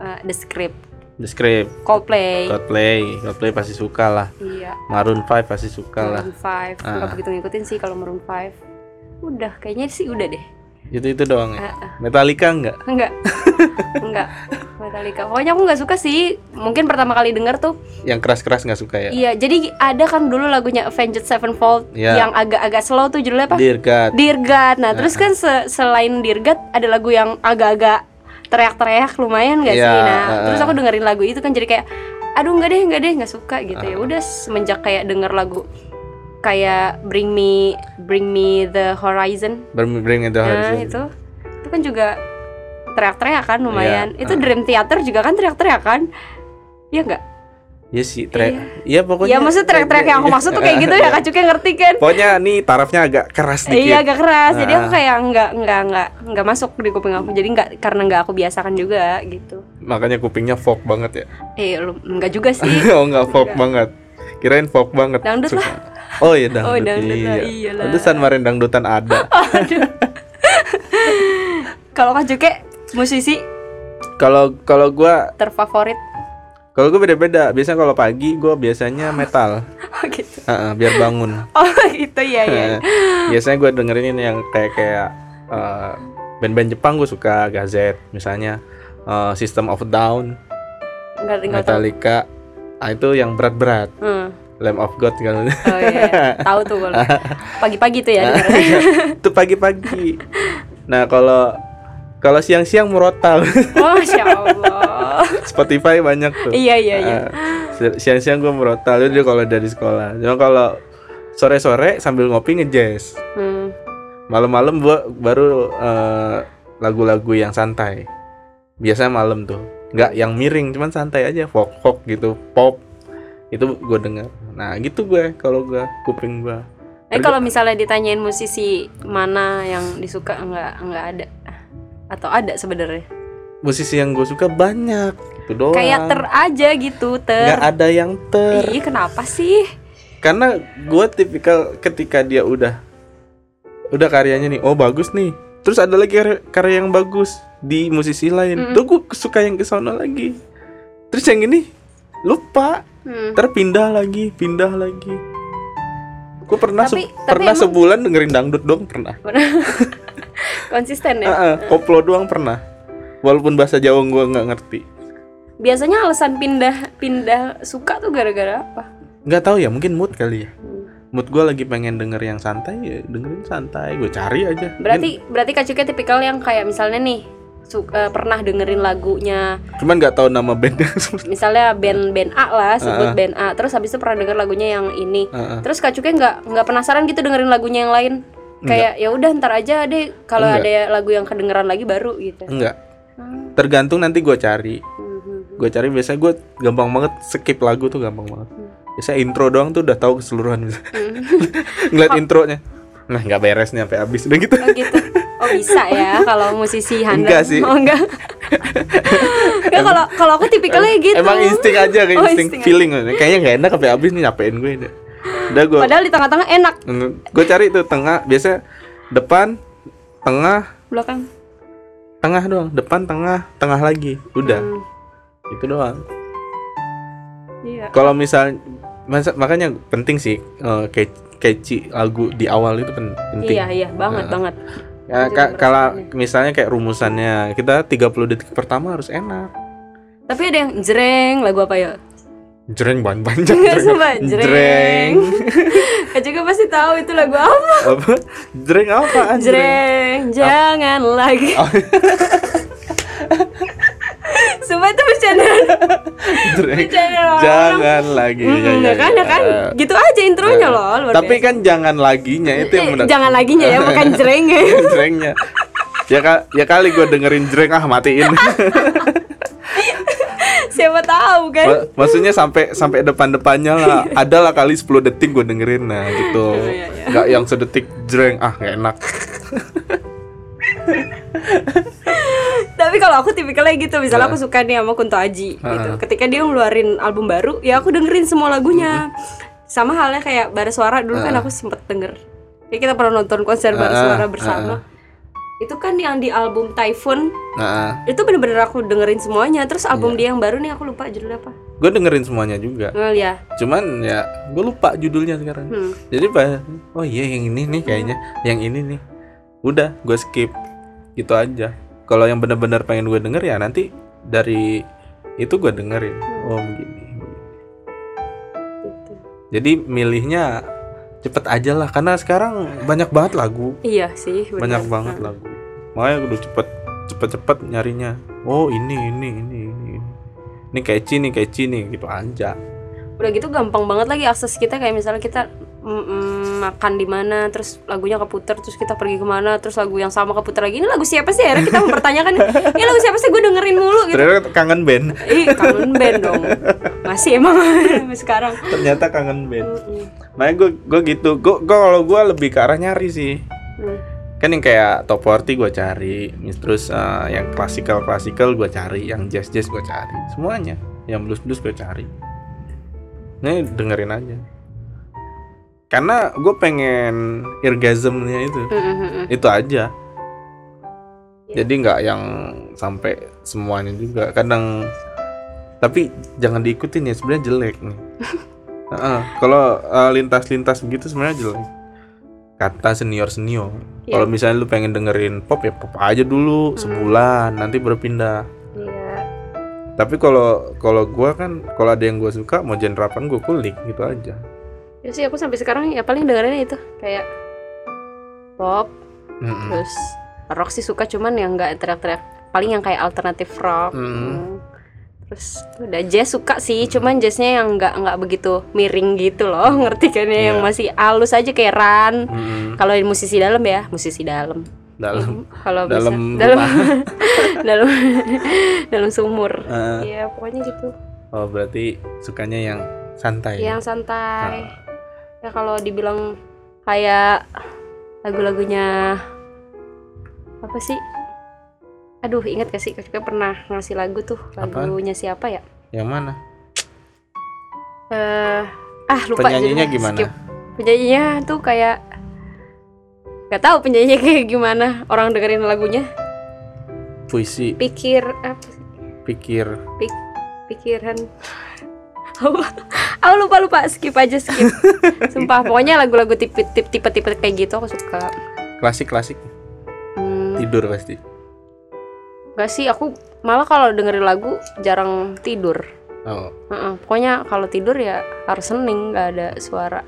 A: eh, The Script
B: The Script,
A: Coldplay
B: Coldplay, Coldplay pasti suka lah.
A: iya
B: Maroon 5 pasti suka lah.
A: Maroon 5
B: Ah.
A: nggak begitu ngikutin sih kalau Maroon 5 udah kayaknya sih udah deh
B: Itu itu doang ya.
A: Ah, ah.
B: Metallica enggak?
A: enggak enggak Metallica pokoknya aku nggak suka sih mungkin pertama kali denger tuh
B: Yang keras-keras nggak suka ya?
A: iya jadi ada kan dulu lagunya Avenged Sevenfold
B: Iya.
A: yang agak-agak slow tuh judulnya apa
B: Dear God.
A: Dear God. Nah, terus kan se- selain Dear God ada lagu yang agak-agak teriak-teriak lumayan gak sih?
B: Iya,
A: Nah,
B: heeh.
A: terus aku dengerin lagu itu kan jadi kayak aduh nggak deh, nggak deh, nggak suka gitu. Ya udah semenjak kayak denger lagu kayak Bring Me Bring Me the Horizon.
B: Bring Bring Me the
A: Nah,
B: Horizon.
A: itu itu kan juga teriak-teriak kan lumayan.
B: Iya,
A: Itu Dream Theater juga kan teriak-teriak kan? Iya enggak?
B: Iya sih, track. Iya pokoknya.
A: Iya, maksudnya teriak-teriak yang aku maksud tuh kayak gitu ya, kacuknya ngerti kan?
B: Pokoknya nih tarafnya agak keras dikit.
A: Iya agak keras, jadi aku
B: Ah.
A: kayak nggak nggak nggak nggak masuk di kuping aku, jadi nggak karena nggak aku biasakan juga gitu.
B: Makanya kupingnya folk banget ya.
A: Eh lu nggak juga sih,
B: oh nggak folk banget. Kirain folk banget.
A: Iya. Dangdut
B: Suka. Oh iya dangdut.
A: Oh, dangdut lah, iyalah.
B: Pantesan kemarin dangdutan ada.
A: kalau kacuke musisi
B: Kalau kalau gua
A: terfavorit
B: kalau gua beda-beda. Biasanya kalau pagi gua biasanya metal.
A: oh gitu,
B: Heeh, biar bangun.
A: oh gitu ya ya.
B: Eh, biasanya gue dengerin yang kayak kayak eh, band-band Jepang gue suka Gazette misalnya eh, System of a Down
A: Nggak tinggal tahu.
B: Metallica ah, itu yang berat-berat
A: Hmm.
B: Lamb of God kan. kalau
A: Oh iya, iya. tahu tuh kalau pagi-pagi tuh ya. dengarnya.
B: itu pagi-pagi nah kalau kalau siang-siang merotal
A: Oh masya Allah.
B: Spotify banyak tuh
A: iya iya iya.
B: Eh, siang-siang gue merotal itu kalau dari sekolah cuma kalau sore-sore sambil ngopi ngejazz
A: Hmm.
B: malam-malam gua baru eh, lagu-lagu yang santai biasanya malam tuh nggak yang miring cuman santai aja folk folk gitu pop itu gue dengar nah gitu gue kalau gue kuping gue
A: Eh kalau misalnya ditanyain musisi mana yang disuka nggak nggak ada atau ada sebenarnya
B: musisi yang gue suka banyak itu doang
A: kayak ter aja gitu ter
B: nggak ada yang ter
A: Ih, kenapa sih?
B: karena gue tipikal ketika dia udah udah karyanya nih oh bagus nih terus ada lagi karya, karya yang bagus di musisi lain
A: Mm-mm.
B: tuh gue suka yang ke sono lagi terus yang ini lupa
A: Hmm.
B: terpindah lagi pindah lagi gue pernah se-
A: Tapi- tapi
B: pernah
A: emang-
B: sebulan dengerin dangdut dong pernah
A: Konsisten ya.
B: Ah, ah, koplo doang pernah walaupun bahasa jawa gue nggak ngerti
A: Biasanya alasan pindah pindah suka tuh gara-gara apa?
B: nggak tahu ya mungkin mood kali ya
A: Hmm.
B: mood gue lagi pengen denger yang santai ya dengerin santai gue cari aja
A: Berarti berarti Kak Cuke tipikal yang kayak misalnya nih su- eh, pernah dengerin lagunya
B: cuman nggak tahu nama bandnya seperti
A: misalnya band-band A lah sebut
B: Ah.
A: band A terus habis itu pernah denger lagunya yang ini
B: Ah, ah.
A: terus Kak Cuke nggak nggak penasaran gitu dengerin lagunya yang lain kayak ya udah ntar aja deh kalau
B: Enggak.
A: ada lagu yang kedengeran lagi baru gitu
B: Enggak,
A: Hmm.
B: tergantung nanti gue cari.
A: Mhm.
B: Gue cari biasanya gue gampang banget skip lagu tuh gampang banget.
A: Hmm.
B: Biasanya intro doang tuh udah tahu keseluruhan. Ngeliat intronya, nah nggak beres nih sampai habis udah gitu.
A: Oh gitu. Oh bisa ya kalau musisi handal.
B: Enggak sih.
A: Oh enggak. Enggak kalau kalau aku tipikalnya gitu.
B: Emang insting aja kayak
A: Oh,
B: insting,
A: insting aja.
B: feeling kayaknya nggak enak sampai habis nih nyapain gue udah. Udah gue
A: Padahal di tengah-tengah enak
B: gue cari tuh tengah biasanya depan tengah
A: belakang. Hmm,
B: tengah doang depan tengah tengah lagi udah itu doang
A: Iya.
B: Kalau misal masa- makanya penting sih eh, ke- keci lagu di awal itu pen- penting.
A: Iya, iya, banget
B: Nah.
A: banget.
B: Ya,
A: Itu
B: ka-
A: yang
B: kalau
A: pertamanya.
B: misalnya kayak rumusannya kita 30 detik pertama harus enak.
A: Tapi ada yang jreng lagu apa ya?
B: Jreng ban panjang.
A: Enggak
B: jreng.
A: sumpah, jreng.
B: Jreng.
A: Kak juga pasti tahu itu lagu apa.
B: Apa? Jreng apa?
A: Jreng, jangan lagi.
B: Oh.
A: Sumpah itu bercanda.
B: Jreng.
A: Bercanda orang.
B: Jangan lagi. Ya,
A: Mm,
B: ya,
A: Enggak kan,
B: ya.
A: ya kan?
B: Eh,
A: Gitu aja intronya
B: eh.
A: loh. luar
B: Tapi
A: biasa.
B: kan jangan laginya itu yang
A: Eh,
B: benar.
A: jangan laginya ya, bukan jreng ya.
B: Jrengnya. Ya, ka- ya kali gue dengerin jreng ah
A: Iya.
B: matiin.
A: Siapa tahu kan?
B: Ma- maksudnya sampai sampai depan-depannya lah ada lah kali 10 detik gue dengerin nah gitu
A: Iya, iya.
B: nggak yang sedetik jreng ah nggak enak
A: Tapi kalau aku tipikalnya gitu, misalnya
B: Ah.
A: aku suka nih sama Kunto Aji gitu.
B: Ah.
A: Ketika dia ngeluarin album baru, ya aku dengerin semua lagunya. Sama halnya kayak Bara Suara dulu kan
B: Ah.
A: aku sempet denger. Ya kita pernah nonton konser Bara
B: Ah,
A: Suara
B: ah,
A: bersama. Itu kan yang di album Typhoon,
B: nah
A: itu bener-bener aku dengerin semuanya. Terus
B: Iya.
A: album dia yang baru nih aku lupa judulnya apa.
B: gue dengerin semuanya juga
A: Ngel ya.
B: cuman ya gue lupa judulnya sekarang
A: Hmm.
B: jadi pas oh iya yang ini nih kayaknya yang ini nih udah gue skip gitu aja kalau yang bener-bener pengen gue denger ya nanti dari itu gue dengerin oh begini
A: Gitu.
B: jadi milihnya cepet aja lah karena sekarang banyak banget lagu
A: Iya sih, bener.
B: banyak banget
A: Nah.
B: lagu makanya udah cepet cepet cepet nyarinya oh ini ini ini ini ini. ini keci nih keci nih gitu aja
A: Udah gitu gampang banget lagi akses kita kayak misalnya kita mm, mm, makan di mana terus lagunya keputer terus kita pergi kemana terus lagu yang sama keputer lagi ini lagu siapa sih akhirnya kita mempertanyakan ini lagu siapa sih gue dengerin mulu gitu
B: ternyata kangen band
A: ih kangen band dong masih emang sampai sekarang
B: ternyata kangen band
A: Mm-mm.
B: makanya gue gue gitu gue gue kalau gue lebih ke arah nyari sih
A: Mm.
B: kan yang kayak top 40 gue cari mis- terus eh, yang klasikal klasikal gue cari yang jazz jazz gue cari semuanya yang blues blues gue cari ini dengerin aja karena gue pengen irgasmnya itu
A: Mm-mm.
B: itu aja
A: Iya.
B: jadi nggak yang sampai semuanya juga kadang tapi jangan diikutin ya sebenarnya jelek nih Heeh, kalau eh, lintas-lintas begitu sebenarnya jelek kata senior
A: Iya.
B: senior
A: Hmm.
B: kalau misalnya lu pengen dengerin pop ya pop aja dulu sebulan nanti berpindah
A: Iya.
B: tapi kalau kalau gua kan kalau ada yang gua suka mau genre apa gua kulik gitu aja
A: ya sih aku sampai sekarang ya paling dengerinnya itu kayak pop
B: Mm-mm.
A: terus rock sih suka cuman yang nggak teriak-teriak paling yang kayak alternatif rock
B: Hmm.
A: Hmm. terus udah jazz suka sih cuman jazznya yang nggak nggak begitu miring gitu loh ngerti kan ya yang
B: Iya.
A: masih halus aja kayak run
B: Mm-mm.
A: kalau yang musisi dalam ya musisi dalam
B: dalam
A: Hmm, kalau bisa-
B: dalam
A: dalam
B: rumah.
A: dalam dalam sumur
B: Eh,
A: Iya pokoknya gitu
B: oh berarti sukanya yang santai
A: yang santai
B: Ah.
A: ya kalau dibilang kayak lagu-lagunya apa sih aduh ingat gak sih kakak pernah ngasih lagu tuh
B: Apaan?
A: lagunya siapa ya
B: yang mana
A: eh ah lupa
B: Penyanyinya
A: judulnya.
B: gimana?
A: Skip. penyanyinya tuh kayak nggak tahu penyanyinya kayak gimana orang dengerin lagunya
B: Puisi,
A: pikir apa sih?
B: pikir.
A: pikiran apa aku lupa lupa skip aja skip sumpah pokoknya lagu-lagu tipe tipe tipe tipe kayak gitu aku suka
B: Klasik-klasik
A: hmm,
B: tidur pasti.
A: gak sih aku malah kalau dengerin lagu jarang tidur
B: Oh,
A: Heeh, pokoknya kalau tidur ya harus sening nggak ada suara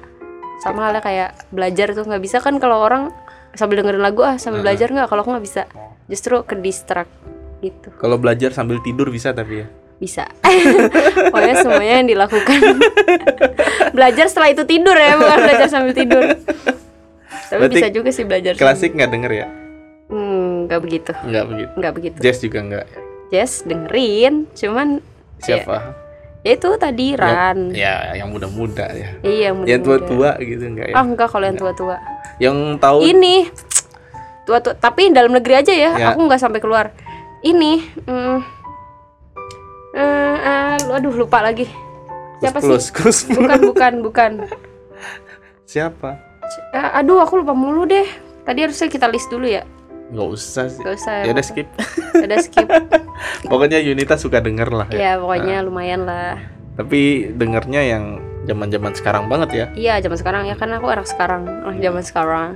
A: sama halnya kayak belajar tuh nggak bisa kan kalau orang sambil dengerin lagu ah sambil
B: Heeh.
A: belajar nggak kalau aku nggak bisa justru ke distract gitu
B: kalau belajar sambil tidur bisa tapi ya.
A: bisa pokoknya semuanya yang dilakukan belajar setelah itu tidur ya bukan belajar sambil tidur tapi
B: Berarti
A: bisa juga sih belajar
B: Klasik nggak denger ya?
A: sambil- hmm, nggak begitu
B: Nggak begitu.
A: nggak begitu
B: Jazz juga nggak. ya?
A: Iya. Jess dengerin cuman
B: Siapa?
A: ya itu tadi Ran
B: Ya, yang muda-muda ya.
A: iya
B: Yang
A: mudah-mudahan.
B: tua-tua gitu nggak ya?
A: ah enggak kalau yang tua-tua
B: Yang tahu
A: ini tua tua tapi dalam negeri aja ya,
B: Ya.
A: aku nggak sampai keluar ini mm, eh, eh, aduh lupa lagi siapa sih
B: kus plus
A: bukan bukan bukan
B: Siapa?
A: Eh, aduh aku lupa mulu deh tadi harusnya kita list dulu ya
B: Nggak usah sih.
A: gak usah
B: Ya udah skip.
A: udah skip
B: Pokoknya Yunita suka denger lah ya.
A: Iya. ya pokoknya lumayan lah
B: Tapi dengernya yang zaman-zaman sekarang banget ya.
A: Iya zaman sekarang ya kan aku anak sekarang anak zaman sekarang.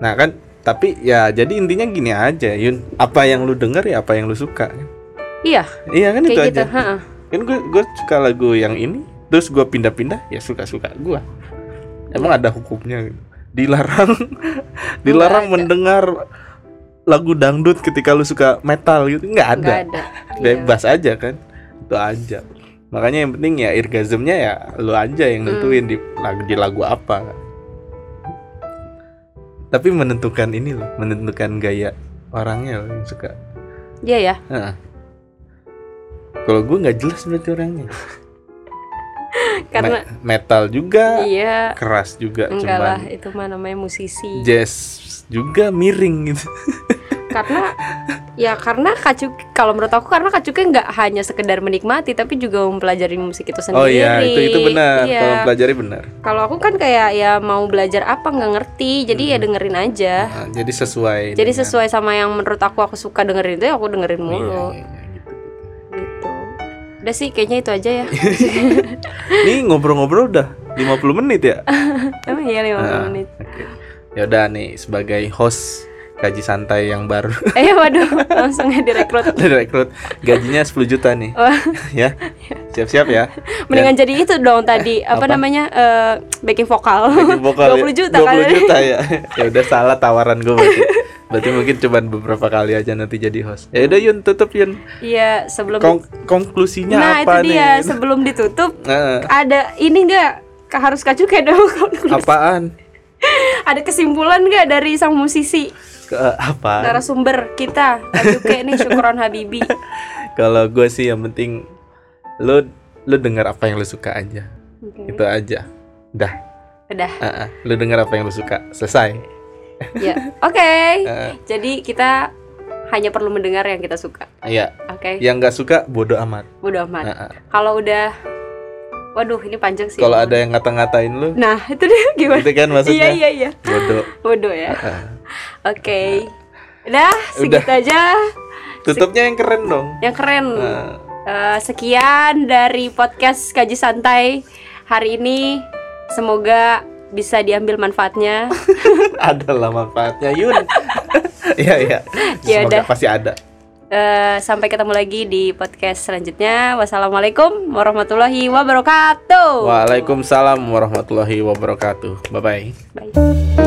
B: Nah kan, tapi ya jadi intinya gini aja, Yun. Apa yang lu denger ya apa yang lu suka.
A: Iya
B: Iya kan itu
A: kayak gitu.
B: aja.
A: heeh.
B: Kan gue suka lagu yang ini, terus gue pindah-pindah ya suka-suka gue. Emang ada hukumnya? Dilarang, dilarang
A: ada.
B: mendengar lagu dangdut ketika lu suka metal gitu nggak ada.
A: Nggak ada.
B: bebas aja kan itu aja makanya yang penting ya irgasmnya ya lu aja yang
A: Hmm.
B: nentuin di lagu di lagu apa tapi menentukan ini loh menentukan gaya orangnya loh yang suka
A: Iya ya.
B: Heeh. kalau gue nggak jelas berarti orangnya
A: Karena
B: Me- metal juga
A: iya
B: keras juga
A: enggak lah
B: cuman
A: itu mah namanya musisi.
B: jazz juga miring gitu
A: karena ya karena kacuk kalau menurut aku karena kacuknya nggak hanya sekedar menikmati tapi juga mempelajari musik itu sendiri.
B: oh iya itu itu benar
A: Iya.
B: kalau pelajari benar
A: Kalau aku kan kayak ya mau belajar apa nggak ngerti jadi
B: Hmm.
A: ya dengerin aja.
B: Nah, jadi sesuai
A: Jadi
B: dengan-
A: sesuai sama yang menurut aku aku suka dengerin itu ya aku dengerin
B: Iya,
A: mulu
B: iya, iya, gitu.
A: gitu. Udah sih kayaknya itu aja ya.
B: Nih ngobrol-ngobrol udah 50 menit ya.
A: Emang iya 50
B: Nah,
A: menit.
B: oke. Ya udah nih sebagai host gaji santai yang baru
A: Eh waduh langsung ya direkrut.
B: direkrut gajinya 10 juta nih.
A: Wah.
B: ya. Siap-siap ya.
A: Oh. Mendingan jadi itu dong tadi apa,
B: Apa?
A: namanya eh, backing vokal.
B: Gaji vokal
A: 20
B: ya.
A: juta kan?
B: 20
A: kali.
B: juta ya. ya udah salah tawaran gue berarti. Berarti mungkin cuman beberapa kali aja nanti jadi host. Ya udah Yun tutup Yun.
A: Iya sebelum
B: Kon- konklusinya
A: Nah
B: apa
A: itu
B: nih?
A: dia sebelum ditutup
B: Nah,
A: ada ini nggak Ka- harus kacu kayak dong
B: apaan?
A: ada kesimpulan nggak dari sang musisi
B: Ke, apa?
A: narasumber kita kayak nih syukuran Habibi
B: Kalau gue sih yang penting lu lu dengar apa yang lu suka aja.
A: Oke.
B: Itu aja. Dah.
A: udah
B: Ah, ah. lu dengar apa yang lu suka selesai
A: ya oke
B: Ah,
A: jadi kita hanya perlu mendengar yang kita suka
B: ya
A: oke
B: yang nggak suka bodoh amat
A: bodo
B: Ah,
A: amat
B: ah.
A: kalau udah waduh ini panjang sih
B: kalau ada yang ngata-ngatain lu
A: nah itu dia gimana
B: itu kan
A: iya
B: maksudnya
A: iya iya
B: bodoh
A: bodoh ya
B: Ah, ah.
A: oke udah segitu aja
B: tutupnya yang keren dong
A: yang keren
B: Ah,
A: Eh, sekian dari podcast Kaji Santai hari ini. Semoga bisa diambil manfaatnya.
B: ada lah manfaatnya Yun ya ya
A: Ya udah.
B: semoga pasti ada
A: Eh, sampai ketemu lagi di podcast selanjutnya. Wassalamualaikum warahmatullahi wabarakatuh.
B: waalaikumsalam warahmatullahi wabarakatuh bye bye
A: Bye.